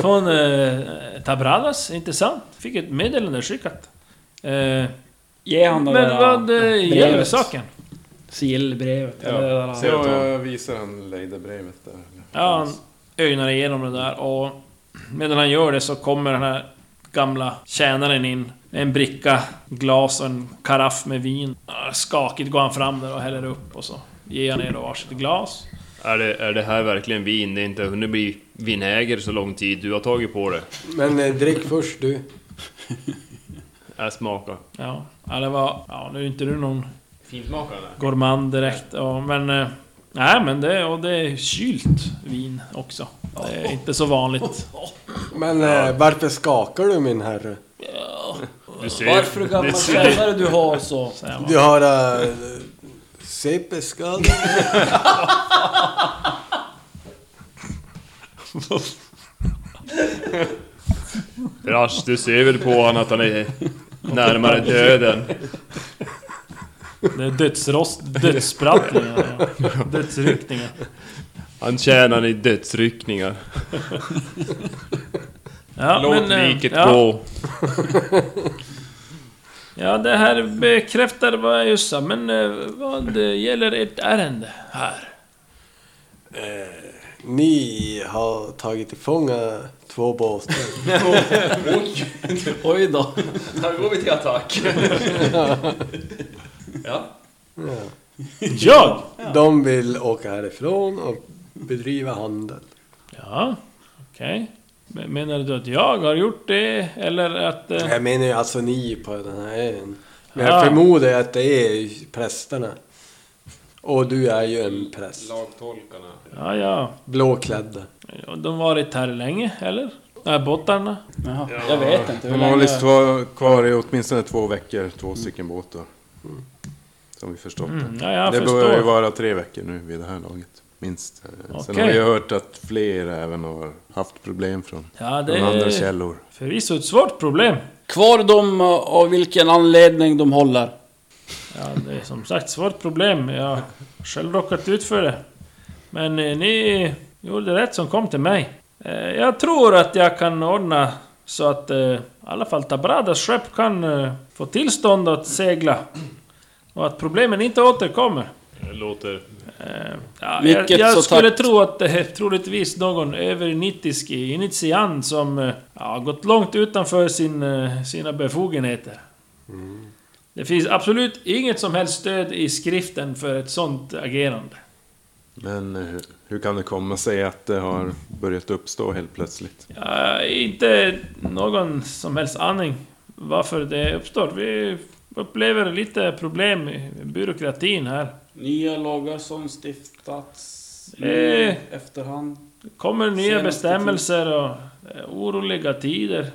B: från eh, Tabradas, inte sant? Fick ett meddelande skickat. Eh,
D: Ge han det
B: men
D: där
B: vad eh, gäller
D: brevet.
B: saken?
D: Sigillbrevet.
G: Ja.
D: eller det där-
G: Så jag visar han Leida-brevet där.
B: Ja, han ögnar igenom det där och medan han gör det så kommer den här gamla tjänaren in. med En bricka glas och en karaff med vin. Ah, Skakigt går han fram där och häller upp och så ger han er då varsitt glas.
C: Är det, är det här verkligen vin? Det är inte hunnit bli vinäger så lång tid du har tagit på det.
E: Men eh, drick först du.
C: Jag smakar.
B: Ja, ja det var... Ja, nu är inte du någon
C: Finsmakande?
B: gourmand direkt. Ja, men... eh, Nej men det, och det är kylt vin också. Det är inte så vanligt.
E: Men eh, varför skakar du min herre?
C: Du ser,
D: Varför hur gammal
C: det ser,
D: källare du har så?
B: säger man.
E: Du har äh, CP-skada.
C: Rasch, du ser väl på honom att han är närmare döden?
B: Det är dödsrost... Dödsprattlingar.
C: (laughs)
B: Ja. Dödsryckningar.
C: Han tjänar i dödsryckningar.
B: Ja,
C: Låt
B: eh,
C: liket
B: ja,
C: gå.
B: Ja, det här bekräftar vad jag just sa, men eh, vad eh, gäller ert ärende här?
E: Eh, Ni har tagit till fånga två båtar.
D: Oj då.
H: Här går vi till attack. ja.
B: Jag?
E: De vill åka härifrån och bedriva handel.
B: Ja, okej. Men- Menar du att jag har gjort det, eller att... eh,
E: Jag menar ju alltså ni på den här ön. Men
B: Ah.
E: jag förmodar att det är prästerna. Och du är ju en präst.
C: Lagtolkarna.
B: Ja, ja.
E: Blåklädda.
B: Ja, De har varit här länge, eller? De här bottarna?
D: Jaha, jag vet inte.
F: De
D: Hur
F: har
D: länge...
F: hållits två- kvar i åtminstone två veckor, två stycken båtar. Som vi förstått
B: Mm,
F: det.
B: ja, jag
F: Det
B: förstår.
F: bör ju vara tre veckor nu vid det här laget. Minst. Eh, Sen har
B: Okej.
F: jag hört att fler även har haft problem från,
B: Ja, det
F: från andra
B: är
F: källor.
B: förvisso ett svårt problem.
D: Kvar dem eh, av vilken anledning de håller.
B: Ja, det är som sagt svårt problem. Jag har själv råkat ut för det. Men eh, ni gjorde rätt som kom till mig. Eh, jag tror att jag kan ordna så att eh, i alla fall Tabradas skepp kan eh, få tillstånd att segla. Och att problemen inte återkommer.
C: Det låter...
B: Eh, ja, jag
D: Vilket så
B: jag skulle
D: tack.
B: tro att det är troligtvis någon övernittisk initiant som eh, ja, har gått långt utanför sin, eh, sina befogenheter. Det finns absolut inget som helst stöd i skriften för ett sånt agerande.
F: Men eh, hur, hur kan det komma sig att det har börjat uppstå helt plötsligt?
B: Ja, inte någon som helst aning varför det uppstår. Vi upplever lite problem i byråkratin här.
D: Nya lagar som stiftats
B: i Eh.
D: efterhand.
B: kommer nya
D: Senaste
B: bestämmelser och eh, oroliga tider.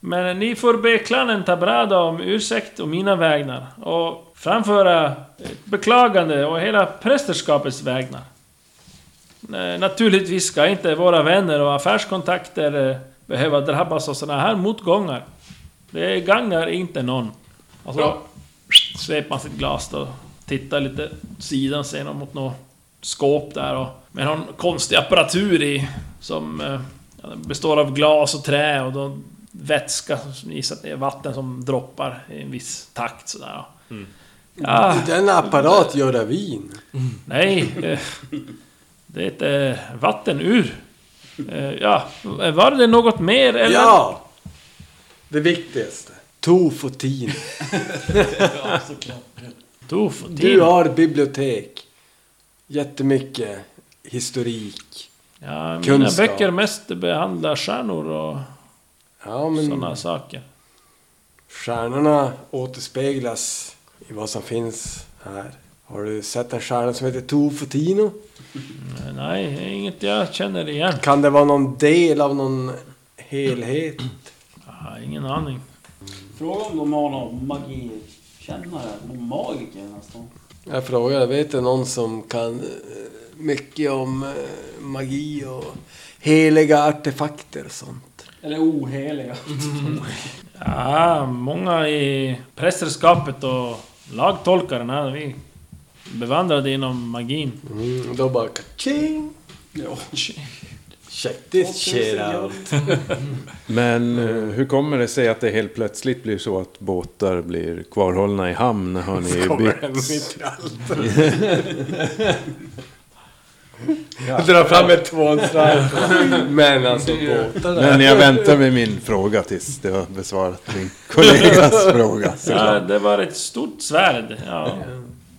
B: Men ni får be klanen Tabrada om ursäkt och mina vägnar. Och framföra ett beklagande och hela prästerskapets vägnar. Eh, Naturligtvis ska inte våra vänner och affärskontakter eh, behöva drabbas av såna här motgångar. Det gagnar inte någon. Alltså, sveper man sitt glas då, tittar lite åt sidan, ser någon mot något skåp där och... Med någon konstig apparatur i, som eh, ja, den består av glas och trä och då vätska, som ni gissar att det är vatten som droppar i en viss takt sådär. Ja,
E: Den apparat gör vin.
B: nej. eh, Det är vattenur. Eh, Ja, var det något mer eller?
E: Ja! Det viktigaste. Tofotin.
B: Tof,
E: Du har bibliotek. Jättemycket historik.
B: Ja, mina
E: Kunskap.
B: böcker mest behandlar stjärnor och
E: Ja,
B: såna
E: men
B: sådana saker.
E: stjärnorna återspeglas i vad som finns här. Har du sett en stjärna som heter Tofotino?
B: Eh, Nej, det är inget jag känner igen.
E: Kan det vara någon del av någon helhet?
B: Ja, ingen aning.
D: Fråga om de har någon magikännare, någon magiker nästan.
E: Jag frågar, vet du någon som kan eh, mycket om eh, magi och heliga artefakter och sånt?
D: Eller oheliga.
B: Ja, många i prästerskapet och lagtolkaren här, vi är bevandrade inom magin.
E: Mm, då bara ka-ching!
D: Ja.
E: Check this shit out.
F: Men eh, hur kommer det sig att det helt plötsligt blir så att båtar blir kvarhållna i hamn? Har ni bytt?
E: Dra fram ett tvåhandsvärd. (laughs) Men alltså båtarna.
F: Men jag väntar med min fråga tills du har
B: (laughs)
F: besvarat min kollegas fråga.
B: Ja, det var ett stort svärd. Ja.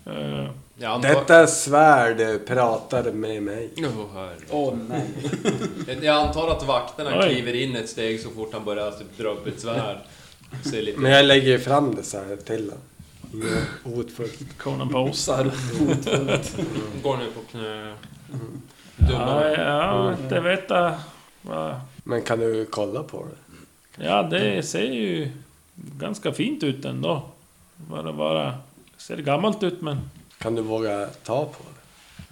B: Eh,
C: Jag antar,
E: Detta svärd pratar med mig.
C: Åh, herre.
D: (laughs) Åh nej.
C: jag antar att vakterna
B: Oj.
C: kliver in ett steg så fort han börjar typ, dra upp ett svärd. Ser lite...
E: Men jag lägger ju fram det så här till honom. Ja, Hotfullt.
B: Konan posar.
C: Går nu på knä.
B: Ja,
C: Dumma.
B: ja, det vet jag. Va?
E: Men kan du kolla på det?
B: Ja, det ser ju ganska fint ut ändå. Bara, bara. Ser gammalt ut men...
E: Kan du våga ta på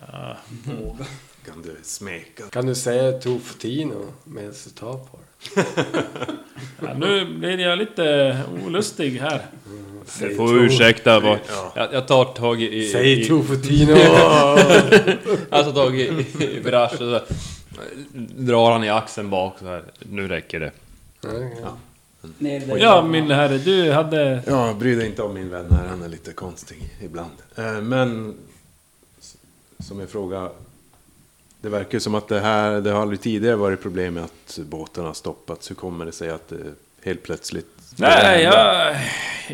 E: det?
F: Kan du smeka?
E: Kan du säga Tofotino medan du tar på det?
B: Ja, nu blir jag lite olustig här.
E: Säg
C: Får
E: to-
C: ursäkta. Var... Jag, jag tar tag i... i
E: Säg
C: i-
E: Tofotino!
C: Alltså tag i, i Brash och så drar han i axeln bak så här. Nu räcker det.
D: Ner i det.
B: Ja, min herre, du hade...
F: Ja, bry dig inte om min vän här. Han är lite konstig ibland. Eh, Men s- som jag fråga. Det verkar ju som att det här, det har aldrig tidigare varit problem med att båtarna har stoppats. Hur kommer det sig att det helt plötsligt...
B: Nej, jag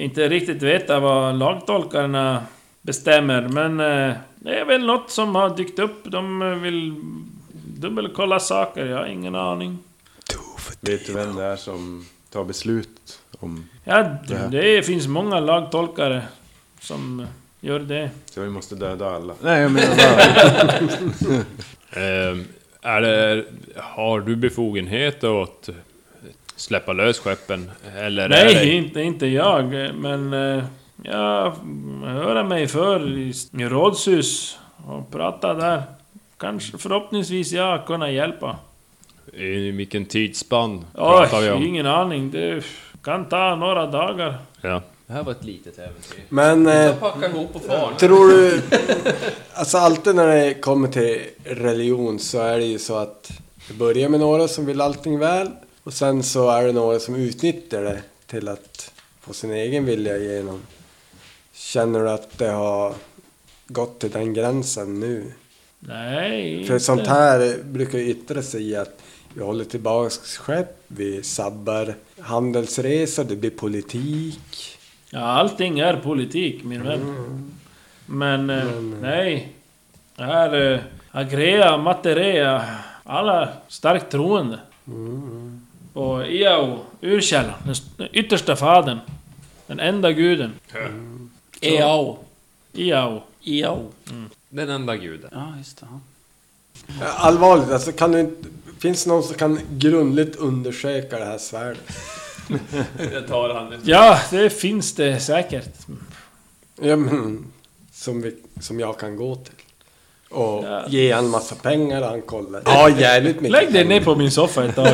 B: inte riktigt vet vad lagtolkarna bestämmer, men eh, det är väl något som har dykt upp. De eh, vill dubbelkolla saker, jag har ingen aning.
F: Vet du vem det är som tar beslut om...
B: Ja, det, det finns många lagtolkare som gör det.
F: Så vi måste döda alla. Nej, jag menar bara...
C: Ehm, är det, har du befogenhet att släppa lös skeppen? Eller är
B: Nej,
C: det,
B: inte, inte jag, eh, men eh, jag hör mig för i s- i rådshus och prata där. Kanske, förhoppningsvis jag kan hjälpa.
C: I vilken tidsspann pratar vi
B: Oj,
C: om?
B: ingen aning. Det kan ta några dagar.
C: Ja.
H: Det här var ett litet äventyr.
E: (laughs) Men... Eh,
H: Packa ihop och far.
E: Tror du... Alltså alltid när det kommer till religion så är det ju så att det börjar med några som vill allting väl och sen så är det några som utnyttjar det till att få sin egen vilja igenom. Känner du att det har gått till den gränsen nu?
B: Nej,
E: För
B: inte.
E: sånt här brukar ju yttra sig i att vi håller tillbaks skepp, vi sabbar handelsresor, det blir politik.
B: Ja, allting är politik, min vän. Men, eh, nej. Det här... Eh, agrea, materea. Alla starkt troende. Mm. På Iao, urkällan, den s- den yttersta fadern. Den enda guden.
D: Eao.
B: Iao.
D: Eao.
C: Den enda guden.
D: Ja, just det. ja.
E: Allvarligt, alltså kan du inte... Finns det någon som kan grundligt undersöka det här svärdet?
C: Jag tar han.
B: Ja, det finns det säkert.
E: Ja, men, som, vi, som jag kan gå till. Och
B: Ja.
E: ge han massa pengar och han kollar. Ja, jävligt mycket
B: Lägg dig
E: pengar.
B: ner på min soffa ett tag.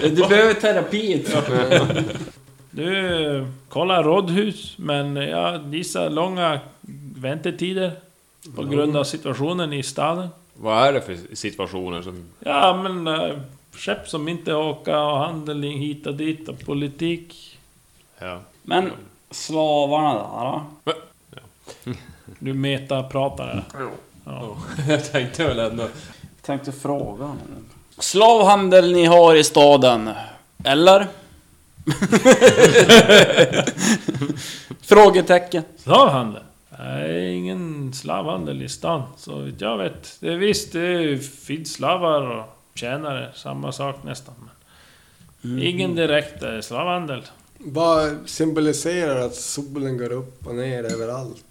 D: Du behöver terapi.
B: (laughs) Du, eh, kolla rådhus, men jag gissar långa väntetider på grund av situationen i staden.
C: Vad är det för situationer som...
B: Ja, men eh, skepp som inte åker och handel hit och dit och politik.
C: Ja.
D: Men slavarna där då?
B: Du metapratar här.
C: (laughs) Jag tänkte väl ändå...
D: Tänkte fråga honom. Slavhandel ni har i staden, (laughs) eller? Frågetecken.
B: Slavhandel? Nej, ingen slavhandel i stan, så vitt jag vet. Det är visst, det finns slavar och tjänare, samma sak nästan. Men Ingen direkt eh, slavhandel.
E: Vad symboliserar att solen går upp och ner överallt?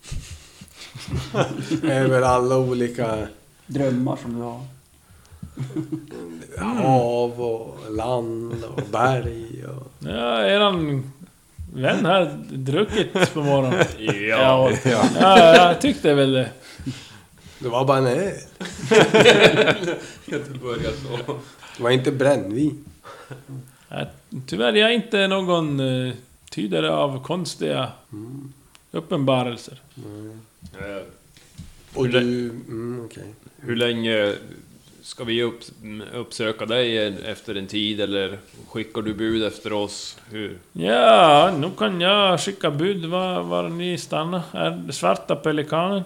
E: (laughs) Över alla olika
D: Drömmar som du har.
E: hav och land och berg och...
B: Ja, eran vän här druckit på morgonen.
C: Ja.
B: Ja, ja, jag tyckte väl det.
E: Det var bara en ö.
C: Jag börjar så.
E: Det var inte brännvin.
B: Nej, Tyvärr, jag är inte någon eh, tydare av konstiga uppenbarelser.
C: Eh,
E: Och du... Mm, okej.
C: Hur länge ska vi upp, uppsöka dig efter en tid eller skickar du bud efter oss? Hur?
B: Ja, nu kan jag skicka bud var, var ni stannar. Är det svarta pelikanen?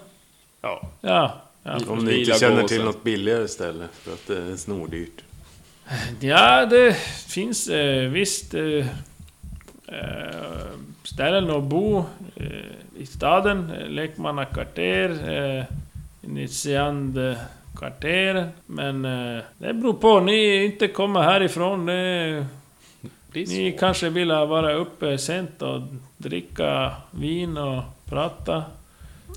C: Ja,
B: Ja. Ja,
F: Om ni inte
C: Vila
F: känner
C: gåsen.
F: till något billigare ställe för att det är snordyrt.
B: ja det finns eh, visst eh, eh, ställen att bo eh, i staden. eh, Lekmannakvarter, eh, initiandkvarter. kvarter. Men eh, det beror på, ni inte kommer härifrån. Det,
C: det är så.
B: Ni kanske vill vara uppe sent och dricka vin och prata.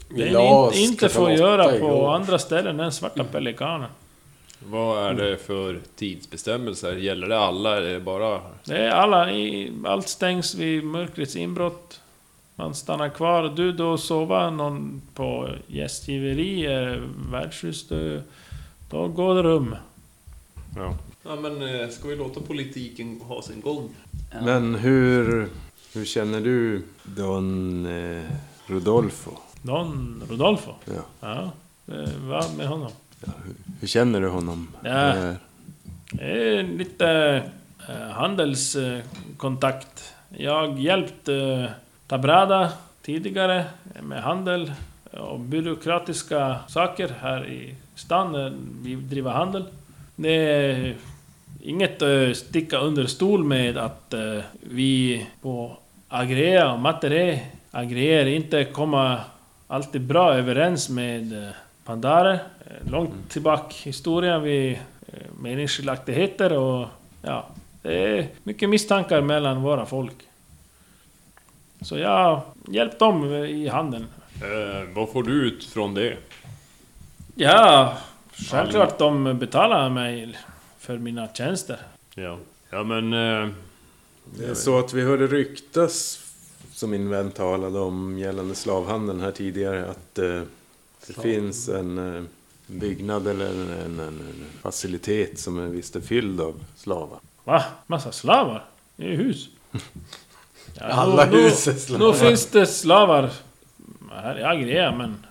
E: Vi
B: Det
E: la
B: ni
E: oss
B: in, inte får
E: klockan
B: göra
E: åtta
B: på
E: igår.
B: andra ställen än Svarta
C: Mm.
B: Pelikanen.
C: Vad är det för tidsbestämmelser? Gäller det alla eller är det bara...
B: Det är alla, i- allt stängs vid mörkrets inbrott. Man stannar kvar. Du då sova någon på gästgiveri, eh, värdshus, då- då går det rum.
C: Ja men eh, ska vi låta politiken ha sin gång?
F: Men hur, hur känner du Don eh, Rodolfo?
B: Don Rodolfo?
F: Ja.
B: Ja, eh, vad med honom?
F: Hur känner du honom?
B: Ja.
F: Eh,
B: Det är lite eh, handelskontakt. Jag hjälpt eh, Tabrada tidigare med handel och byråkratiska saker här i stan. när Vi driver handel. Det är inget att sticka under stol med att eh, vi på Agrea och Matere Agreer inte kommer alltid bra överens med eh, Pandare. Eh, Långt tillbaka i historien vi eh, meningsskiljaktigheter och ja, det är mycket misstankar mellan våra folk. Så jag hjälpt dem i handeln.
C: vad får du ut från det?
B: Ja, självklart de betalar mig för mina tjänster.
C: Ja, ja men... Eh,
F: Det är så att vi hörde ryktas, som min vän talade om gällande slavhandeln här tidigare, att eh, det finns en eh, byggnad eller en, en, en facilitet som är visst är fylld av slavar.
B: Va? Massa slavar? I
E: (laughs)
B: hus? Ja,
E: Alla
B: nu-
E: hus är
B: nu,
E: slavar.
B: nu finns det slavar här i Agria, men...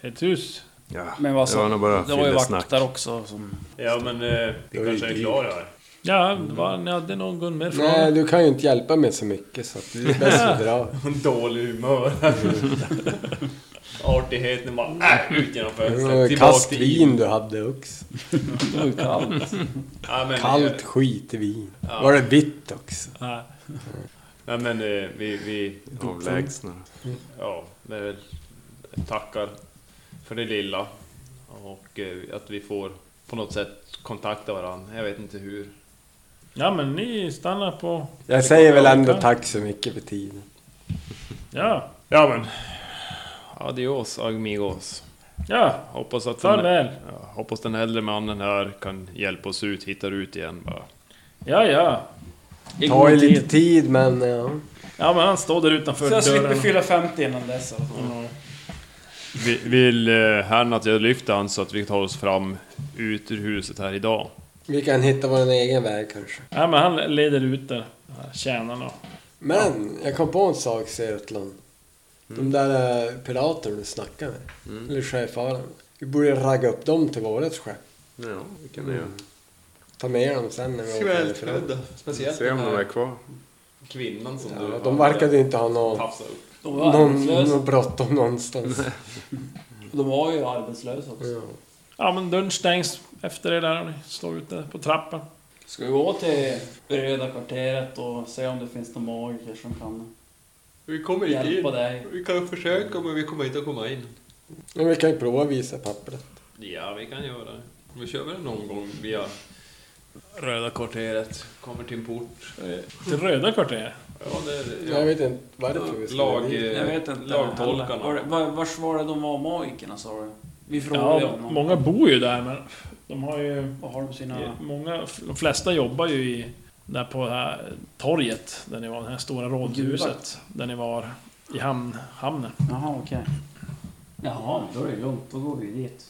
B: Ett hus?
F: Ja,
D: Men vad
F: det var
D: som,
F: nog bara
D: det var ju
F: fyllesnack.
D: vakter också som...
C: ja men eh, vi kanske är klara här. (laughs)
B: Ja, var, ni hade någon mer fråga?
E: Nej, du kan ju inte hjälpa mig så mycket så att det är bäst att dra. (laughs)
C: Dålig (laughs) humör. Artigheten bara... Äh, ut genom
E: Det var ju Kast vin du hade också.
D: Det var ju kallt.
C: Ja, men, eh,
E: Kallt skitvin. Var det vitt också?
B: Nej.
C: Nej men eh, vi, vi...
F: Avlägsna.
C: Ja, det är väl... Tackar för det lilla. Och eh, att vi får på något sätt kontakta varandra. Jag vet inte hur.
B: Ja, men ni stannar på...
E: Jag säger väl ändå
B: Ja.
E: tack så mycket för tiden.
B: Ja,
C: Ja men... Adios amigos.
B: ja.
C: Hoppas att den,
B: Farväl.
C: ja, hoppas den äldre mannen här kan hjälpa oss ut, hittar ut igen bara.
B: Ja, ja.
E: Det tar ju lite tid men ja.
B: Ja, men han står där utanför
D: Så jag slipper
B: dörren.
D: fylla 50 innan dess. Alltså.
C: Vi, vill eh, herrn att jag lyfter han så att vi tar oss fram ut ur huset här idag?
E: Vi kan hitta vår egen väg kanske.
B: Ja, men han leder ut där. Tjänarna.
E: Men jag kom på en sak Sörtland. De där eh, piraterna du snackade med. Eller sjöfararna. Vi borde ragga upp dem till vårat skepp.
F: Ja, det kan ni göra.
E: Ta med dem sen när vi åker härifrån.
H: Speciellt
F: Se om
H: den
F: de är
H: här
F: kvar.
H: kvinnan som
E: Ja,
H: du
E: de verkade inte ha någon,
H: tafsade upp.
D: De var
E: någon,
D: arbetslösa.
E: någon bråttom någonstans.
D: De var ju arbetslösa också.
E: Ja.
B: Ja, men dörren stängs efter er där och ni står ute på trappan.
D: Ska vi gå till Röda kvarteret och se om det finns någon magiker som kan
H: Vi kommer inte
D: hjälpa
H: in.
D: dig?
H: Vi kan försöka men vi kommer inte att komma in.
E: Men vi kan ju prova att visa pappret.
H: Ja, vi kan göra det. Vi kör väl någon gång via Röda kvarteret. Kommer till en port.
B: Till röda kvarteret.
H: Ja, det är det.
E: Jag vet inte varför vi skulle
H: Lag,
E: dit.
D: Jag vet inte.
H: Lagtolkarna.
D: Var, var, vars var det de var magikerna sa du? Vi frågade ju
B: Ja,
D: honom.
B: många bor ju där, men de har ju...
D: Vad har de sina...
B: Många, de flesta jobbar ju i, där på det här torget, där ni var, det här stora rådhuset. Där ni var i hamn, hamnen.
D: Jaha, okej. Jaha, då är det lugnt. Då går vi dit.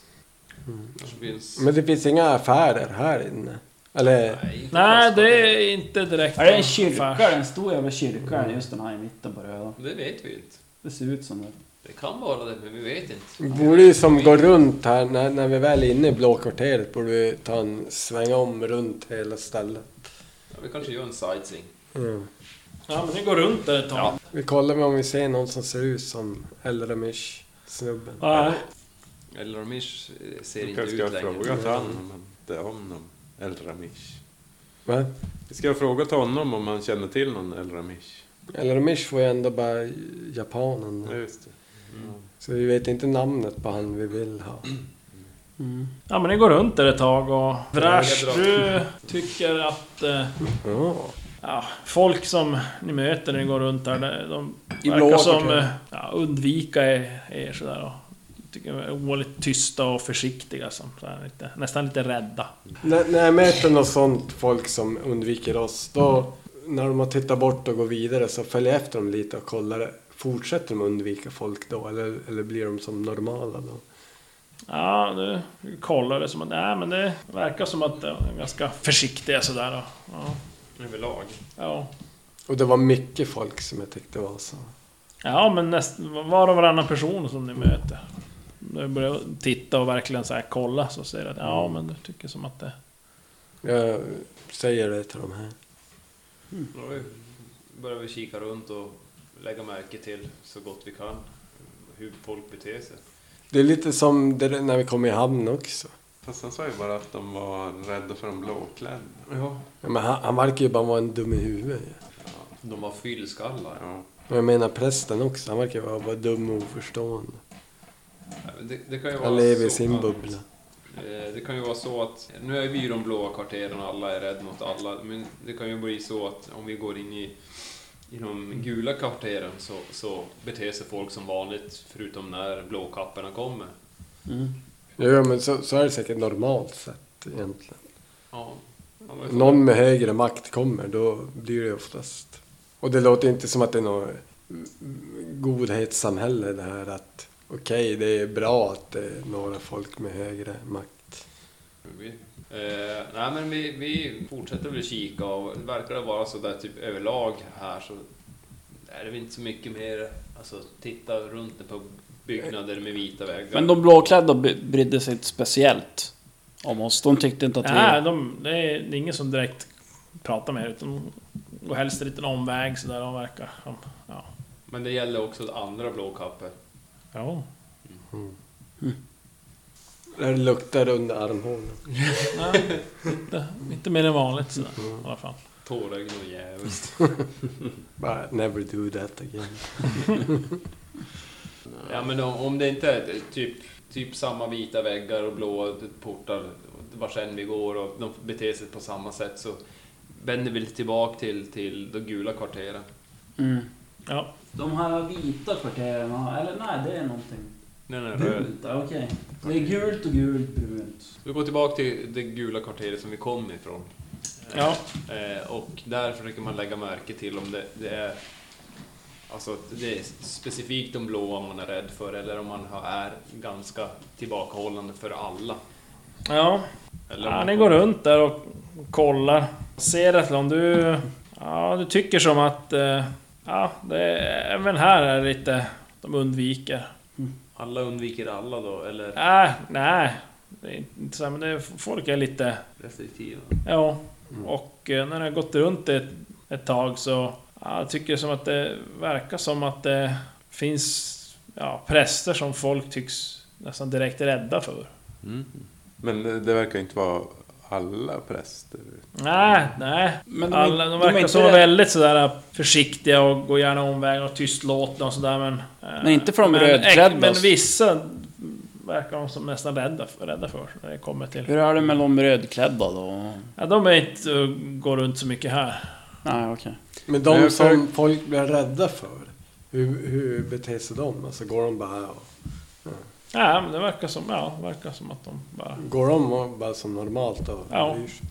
H: Kanske finns...
E: Men det finns inga affärer här inne. Eller?
B: Nej, det är inte direkt...
D: Är det en
B: affär.
D: kyrka? Det är en stor jävla kyrka är det just den här i mitten på röda.
C: Det vet vi inte.
D: Det ser ut som det.
C: Det kan vara det, men vi vet inte.
E: Vi borde ju som gå runt här, när, när vi väl är inne i Blåkvarteret, borde vi ta en sväng om runt hela stället.
C: Ja, vi kanske gör en sightseeing.
B: Ja, men ni går runt där ett tag.
E: Vi kollar om vi ser någon som ser ut som Elramish snubben.
B: Nej.
C: Eller Romish ser
F: Vi
C: inte
F: kanske ska
C: ut längre.
F: fråga till honom om det är honom. El Ramish.
E: Va?
F: Vi ska fråga till honom om han känner till någon El Ramish.
E: Elramish var ju ändå bara japanen.
F: Ja, just det.
E: Så vi vet inte namnet på han vi vill ha.
B: Ja, men ni går runt där ett tag och... Vrash, du tycker att... Eh,
E: Ja.
B: ja, folk som ni möter när ni går runt här, de- de
D: I
B: verkar
D: blåa
B: som...
D: kvarter.
B: eh, Ja, undvika er, er sådär och... Tycker de är ovanligt tysta och försiktiga som så här, lite, nästan lite rädda.
E: När, när jag möter något sånt folk som undviker oss, då när de har tittat bort och går vidare så följer jag efter dem lite och kollar. Fortsätter de undvika folk då eller, eller blir de som normala då?
B: Ja, du kollar det som att... Nej, men det verkar som att de är ganska försiktiga sådär. Och, ja,
C: Överlag.
B: ja.
E: Och det var mycket folk som jag tyckte var så.
B: ja, men näst, var och varannan person som ni möter. När du börjar titta och verkligen så här kolla så ser du att ja, men du tycker som att det...
E: Jag säger det till de här.
C: Då börjar vi kika runt och lägga märke till så gott vi kan hur folk beter sig.
E: Det är lite som det, där när vi kom i hamn också.
F: Fast han sa ju bara att de var rädda för de blåklädda.
E: Ja, men han, han verkar ju bara vara en dum i huvudet. ja.
C: De var fyllskallar.
F: Ja.
E: Och jag menar prästen också, han verkar vara bara dum och oförstående.
C: Det, det kan ju vara
E: Han lever i
C: så
E: sin
C: att-
E: bubbla.
C: Eh, Det kan ju vara så att, nu är vi i de blåa kvarteren och alla är rädda mot alla, men det kan ju bli så att om vi går in i, i de gula kvarteren så, så beter sig folk som vanligt, förutom när blåkapporna kommer.
E: Jo, men så, så är det säkert normalt sett egentligen.
C: Ja. Ja, men-
E: Någon med högre makt kommer, då blir det oftast. Och det låter inte som att det är något godhetssamhälle det här att okej, det är bra att det är några folk med högre makt.
C: Vi, eh, nej men vi, vi fortsätter väl kika och verkar det vara så där typ överlag här så är det väl inte så mycket mer, alltså titta runt på byggnader med vita väggar.
D: Men de blåklädda by- brydde sig inte speciellt om oss. De tyckte inte att vi...
B: Nej, de, det, är, det är ingen som direkt pratar med er utan de går helst en liten omväg sådär. De verkar som... Ja.
C: Men det gäller också andra blåkappor.
B: ja.
E: Det luktar under armhålan.
B: Nej, inte, inte mer än vanligt sådär i alla fall.
C: Tårögd och djävulskt.
E: Bara, Never do that again.
C: Ja men om, om det inte är typ, typ samma vita väggar och blåa portar vars än vi går och de beter sig på samma sätt så vänder vi tillbaka till, till de gula kvarteren.
D: Mm.
B: Ja.
D: De här vita kvarteren, eller nej det är någonting
C: Den är röd.
D: brunt. ja, Okej. Det är gult och gult, brunt.
C: Vi går tillbaka till det gula kvarteret som vi kom ifrån.
B: Ja.
C: Eh, och där försöker man lägga märke till om det, det är Alltså att det är specifikt de blåa man är rädd för eller om man har- är ganska tillbakahållande för alla.
B: Ja.
C: Eller om
B: ja
C: man
B: ni går
C: kommer-
B: runt där och kollar. Ser att om du... Ja, du tycker som att... eh, Ja, det, även här är det lite... De undviker.
C: Alla undviker alla då, eller
B: Äh, nej. Det är inte så här, men det, folk är lite...
C: restriktiva.
B: Ja. Och eh, när det har gått runt ett, ett tag så... Ja, jag tycker som att det verkar som att det finns... Ja, präster som folk tycks nästan direkt rädda för.
F: Mm. Men det, det verkar inte vara alla präster.
B: Nej, nej.
D: Men de är-
B: Alla,
D: de
B: de
D: är
B: verkar
D: inte
B: som vara
D: rädda.
B: väldigt sådär försiktiga och går gärna omvägar och tystlåtna och sådär men... eh,
D: Men inte för de
B: men-
D: rödklädda.
B: Men vissa verkar de som nästan rädda för, rädda för när det kommer till...
D: Hur är det med de rödklädda då?
B: Ja, de är inte, eh, går runt så mycket här.
D: Nej okej.
E: Men
F: Men
E: de
F: jag
E: som
F: försöker-
E: folk blir rädda för, hur, hur beter sig de? Alltså går de bara och,
B: Ja, men det verkar som, ja, det verkar som att de bara...
E: går de och bara som normalt och
B: Ja.
E: bryr sig?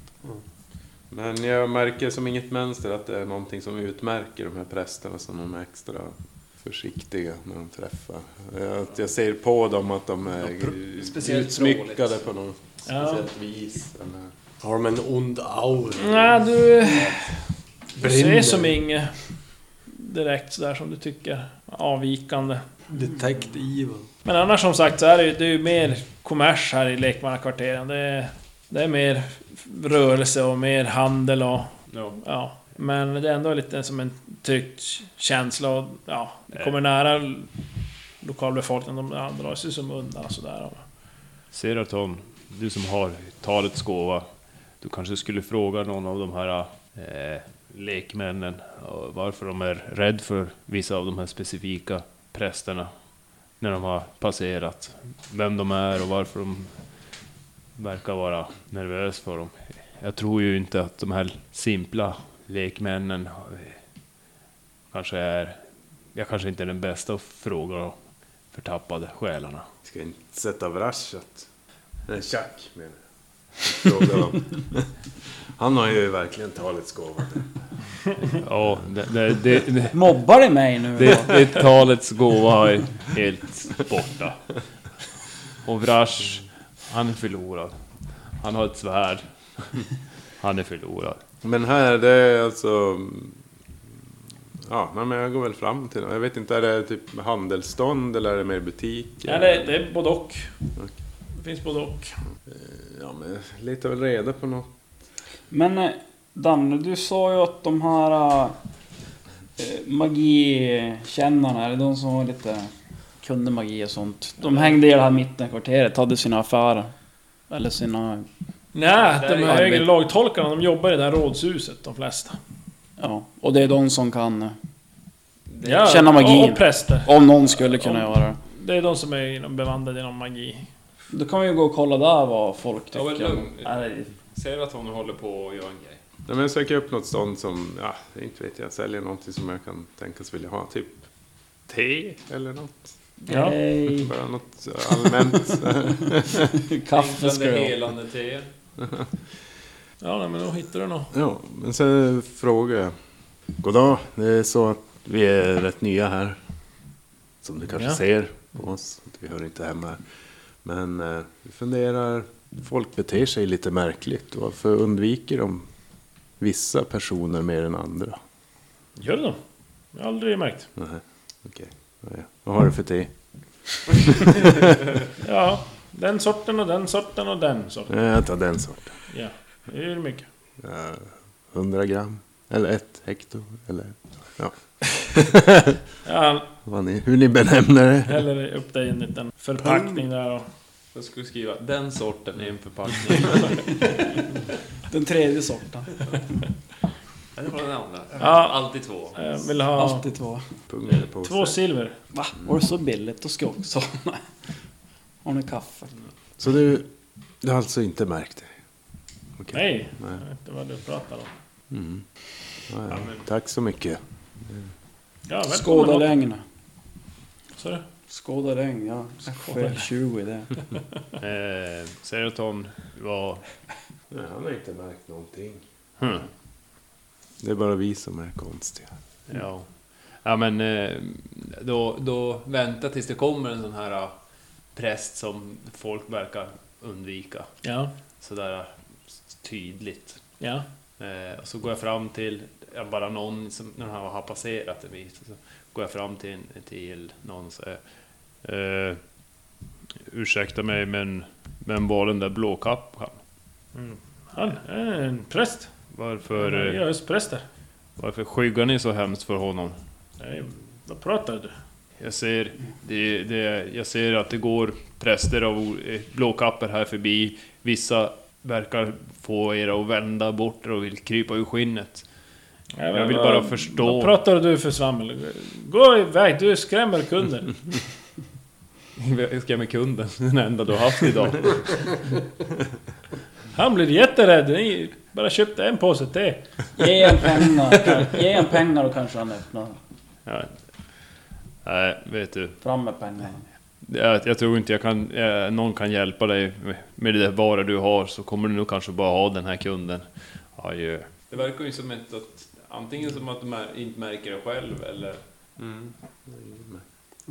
F: Men jag märker som inget mönster att det är någonting som utmärker de här prästerna som de är extra försiktiga när de träffar. Eh, Att jag ser på dem att de är
C: speciellt
F: utsmyckade
C: roligt.
F: på något
B: Ja.
F: speciellt vis. Eller
E: Har de en ond aura?
B: Nej, du... Du ser
E: Brinner.
B: som inget direkt sådär som du tycker avvikande.
E: Detect evil.
B: Men annars som sagt så är det ju, det är ju mer kommers här i lekmannakvarteren. Det är, det är mer rörelse och mer handel och...
H: Ja.
B: Ja. Men det är ändå lite som en tryckt känsla och ja,
C: Eh.
B: det kommer nära lokalbefolkningen, de ja, drar sig som undan och sådär.
C: Seraton, du som har talets gåva. Du kanske skulle fråga någon av de här eh, lekmännen eh, varför de är rädd för vissa av de här specifika prästerna när de har passerat. Vem de är och varför de verkar vara nervös för dem. Jag tror ju inte att de här simpla lekmännen eh, kanske är... Jag kanske inte är den bästa att fråga de förtappade själarna.
F: Ska inte sätta vraschat. Nej, tjack menar jag. Fråga om. (laughs) Han har ju verkligen talets gåva.
C: Ja, det, det, det, det,
D: Mobbar du mig nu? då?
C: det, det talets gåva är helt borta. Och Vrash, han är förlorad. Han har ett svärd. Han är förlorad.
F: Men här, det är alltså... Ja, nej, men jag går väl fram till Jag vet inte, är det typ handelsstånd eller är det mer butik?
B: Ja, det, det är både och. Det finns både och.
F: Ja, men jag letar väl reda på något.
D: Men eh, Danne, du sa ju att de här eh, magikännarna, eller de som var lite kunde magi och sånt. De hängde i det här mittenkvarteret, hade sina affärer. Eller sina...
B: Nej, de här
D: ju-
B: högre lagtolkarna, de jobbar i det här rådshuset, de flesta.
D: Ja, och det är de som kan... eh,
B: Ja,
D: Känna magin.
B: Och, och präster.
D: Om någon skulle kunna göra det.
B: Det är de som är inom- bevandrade inom magi.
D: Då kan vi ju gå och kolla där vad folk
H: Ja, men
D: tycker.
H: lugn.
D: Nej,
H: Seraton håller på att göra en grej.
F: Nej, men jag söker upp något stånd som, ja, inte vet jag, säljer någonting som jag kan tänkas vilja ha. Typ te eller något.
B: Ja.
D: nej.
F: Bara något (laughs) allmänt.
D: Kaffe ska
H: Enklande,
D: jag ha.
H: helande te.
B: Ja, nej, men då hittar du nog.
F: ja, men sen frågar jag. Goddag, det är så att vi är rätt nya här. Som du kanske
B: Ja.
F: ser på oss. Vi hör inte hemma här. Men eh, vi funderar, folk beter sig lite märkligt. Varför undviker de vissa personer mer än andra?
B: Gör du det? Jag har aldrig märkt.
F: Nej, okej. Ja, Vad har du för te?
B: Ja, den sorten och den sorten och den sorten.
F: Eh, Jag tar den sorten.
B: Ja, det är mycket.
F: 100 gram. Eller ett hekto. Eller ja,
B: (laughs) Ja,
F: vad ni, hur ni benämner det.
B: häller upp dig i en liten förpackning där och...
H: Jag skulle skriva den sorten i en förpackning.
D: Den tredje sorten.
H: Ja, det var den andra.
B: Ja,
H: Alltid två.
B: eh, vill ha
D: Alltid två.
F: Pung eller påse.
B: två silver.
D: Va? Var det så billigt? Då ska jag också (laughs) ha. Nej. Har ni kaffe?
F: Så du, du har alltså inte märkt det? Okej.
B: Nej,
F: Nej.
B: jag vet inte vad du pratar om.
F: Mm. Ja, ja. Tack så mycket.
B: Ja, välkommen.
D: Skåda lögn.
B: Så är det.
D: Skåda lögn, ja. Fel 20 i det.
C: Eh, Seraton var...
F: Nej, han har inte märkt någonting.
C: Hmm.
F: Det är bara vi som är konstiga.
C: Ja. Ja men eh, då, då vänta tills det kommer en sån här eh, präst som folk verkar undvika.
B: Ja,
C: Sådär eh, tydligt.
B: ja.
C: Eh, och så går jag fram till, ja, bara någon som när han har passerat en bit, så går jag fram till, till någon och säger eh, Ursäkta mig men vem var den där blåkappan?
B: Han är en präst.
C: Varför,
B: För...
C: eh,
B: Jag är präster.
C: varför skyggar ni så hemskt för honom?
B: Nej, vad pratar du?
C: Jag ser, det, det, jag ser att det går präster av o- eh, blåkappor här förbi. Vissa verkar få er att vända bort er och vill krypa ur skinnet. Jag vill bara
B: Vad
C: förstå.
B: pratar du för svammel? Gå iväg, du skrämmer kunden.
C: Jag ska med kunden, (laughs) den enda du har haft idag.
B: Han blir jätterädd. Ni bara köpte en påse te.
D: Ge en pengar. Ge en pengar och kanske han öppnar.
C: Ja. Nej, vet du.
D: Fram med pengarna.
C: Eh, Jag, jag tror inte jag kan, eh, någon kan hjälpa dig med- med det där vara du har så kommer du nog kanske bara ha den här kunden. Adjö.
H: Det verkar ju som ett, att antingen som att de är, inte märker det själv eller...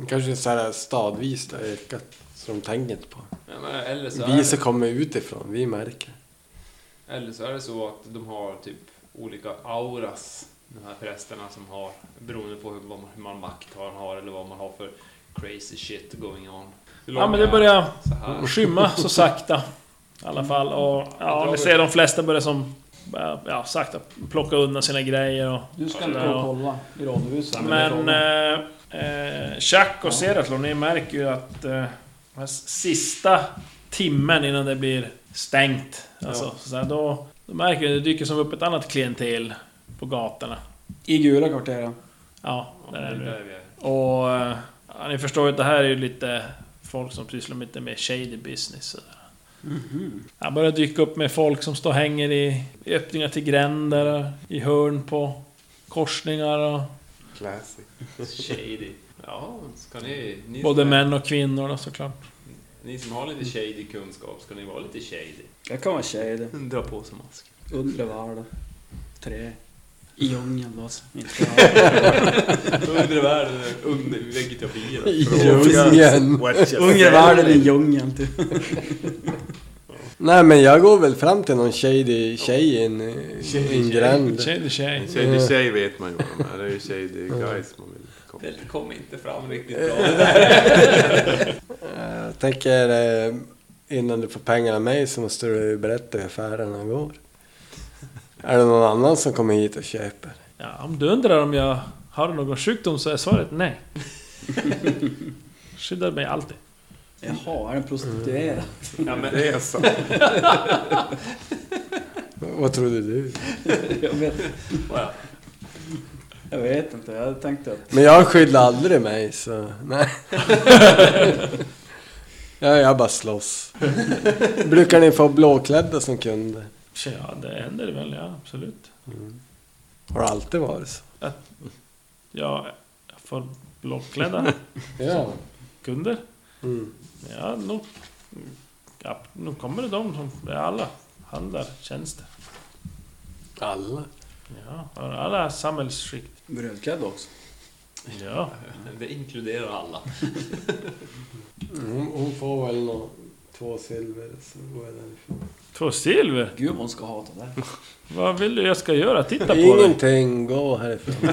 E: Kanske så här stadvis det har ökat. Som de tänker inte på.
H: Ja, men, eller så är
E: Vi som
H: det,
E: kommer utifrån, vi märker.
C: Eller så är det så att de har typ olika auras, de här prästerna som har, beroende på hur, vad man, hur man makt har, har eller vad man har för crazy shit going on. Hur
B: Ja men det
C: långa-
B: börjar
C: så här.
B: skymma så sakta. I alla fall. Och ja, ni ser de flesta börjar som... börjar, Ja, sakta plocka undan sina grejer och...
D: Du ska
B: Ja,
D: inte
B: det
D: gå
B: är-
D: och kolla i radhuset.
B: Men... eh, Eh, Chuck och Seratlon, ni märker ju att... Eh, den här sista timmen innan det blir stängt. Alltså, så här, då, då märker ni att det dyker som upp ett annat klientel på gatorna.
D: I gula kvarteren.
B: Ja, där är
C: Det
B: det.
C: är där vi är.
B: Och... eh, Ja, ni förstår ju att det här är ju lite... Folk som pysslar med lite mer shady business. Så Han börjar dyka upp med folk som står och hänger i, i öppningar till gränder, i hörn på korsningar och
F: Classic.
C: Shady. Ja, ska ni... ni
B: både
C: som är-
B: män och kvinnor då, såklart.
C: Ni som har lite shady kunskap, ska ni vara lite shady?
D: Jag kan vara tjej det.
C: Dra på sig mask.
D: Undre världen. Tre. I djungeln då. alltså. Inte (laughs) här.
C: Undre världen, under vegetabilien.
D: I
E: Djungeln.
D: djungeln. Ungervärlden i djungeln typ.
E: Nej men jag går väl fram till någon shady tjej i en, i en gränd.
B: Tjej till tjej.
F: Shady tjej vet man ju vad de är. Det är ju shady guys man vill komma.
C: Det kom inte fram riktigt bra.
E: (laughs) Eh, Jag tänker eh, innan du får pengarna av mig så måste du berätta hur affärerna går. Är det någon annan som kommer hit och köper?
B: Ja, om du undrar om jag har någon sjukdom så är svaret nej. Skyddar mig alltid.
D: Jaha, är den prostituerad?
C: Ja, men
F: Det är så.
E: Vad trodde du?
D: Jag vet, jag vet inte, jag tänkte att...
E: Men jag skyller aldrig mig så nej. ja, jag bara slåss. Brukar ni få blåklädda som kunder?
B: Tja, Ja, det händer väl, ja absolut.
E: Har det alltid varit så?
B: Ja, jag får blåklädda
E: (laughs) Ja.
B: kunder.
E: Mm.
B: Ja, nog... Ja, nog kommer det de som... Det är alla. Handlar tjänster.
E: Alla?
B: Ja, alla samhällsskikt.
D: Brödklädd också.
B: Ja.
C: det inkluderar alla.
E: Hon, hon får väl nå, två silver så går jag därifrån.
B: Två silver?
D: Gud vad hon ska hata det.
B: Vad vill du jag ska göra? Titta på dig!
E: Ingenting, gå härifrån.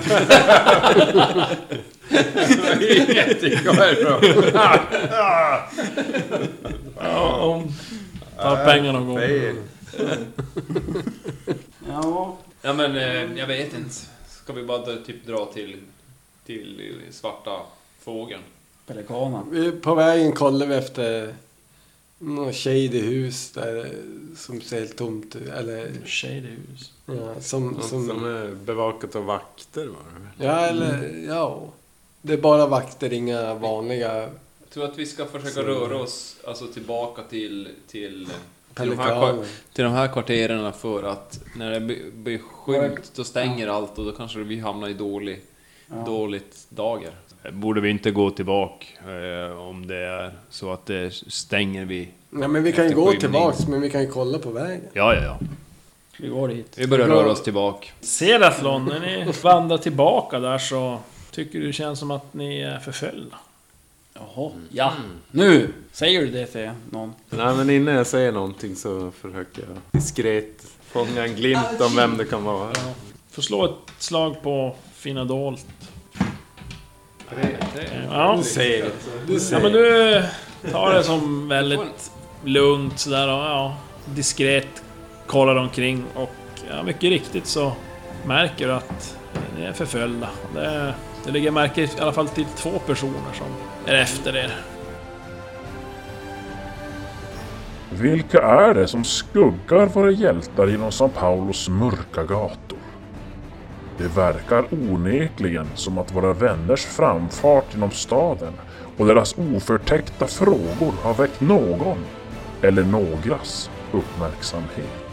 B: Ja, om... Ta pengarna och gå.
D: Ja,
C: Ja, men eh, jag vet inte. Ska vi bara dra- typ dra till, till svarta fågeln?
D: pelikanen.
E: Vi- På vägen kollar vi efter någon shady hus där som ser helt tomt ut. Eller
B: Shady hus.
E: ja, som,
F: Något som
E: som...
F: är eh, bevakat av vakter var det väl?
E: Ja, eller ja. Det är bara vakter, inga vanliga
C: Jag tror att vi ska försöka
E: Så-
C: röra oss alltså, tillbaka till, till, till, de här, kvar-
E: pelikaner.
C: till de här kvarteren för att när det blir- blir skymt då stänger allt och då kanske vi hamnar i dålig,
D: Ja.
C: dåligt dager.
I: Borde vi inte gå tillbaka eh, om det är så att det stänger vi?
E: Ja, men vi kan ju
C: Efter
E: gå
C: skymning.
E: tillbaks, men vi kan ju kolla på vägen.
I: Ja, ja, ja.
D: Vi går dit.
C: Vi börjar
E: Bra.
C: röra oss tillbaka.
B: Seratlon, när ni vandrar tillbaka där så tycker du det känns som att ni är förföljda.
D: Jaha, ja. Nu! Säger du det till någon?
F: Nej men innan jag säger någonting så försöker jag diskret fånga en glimt om vem det kan vara.
B: Får slå ett slag på fina dolt.
E: Du
B: Ja.
E: ser. Du
B: ja, men
E: ser.
B: du tar det som väldigt lugnt sådär och ja, diskret kollar omkring och ja, mycket riktigt så märker du att ni är förföljda. Det, det ligger märke i alla fall till två personer som är efter er.
A: Vilka är det som skuggar våra hjältar genom São Paulos mörka gator? Det verkar onekligen som att våra vänners framfart genom staden och deras oförtäckta frågor har väckt någon, eller någras, uppmärksamhet.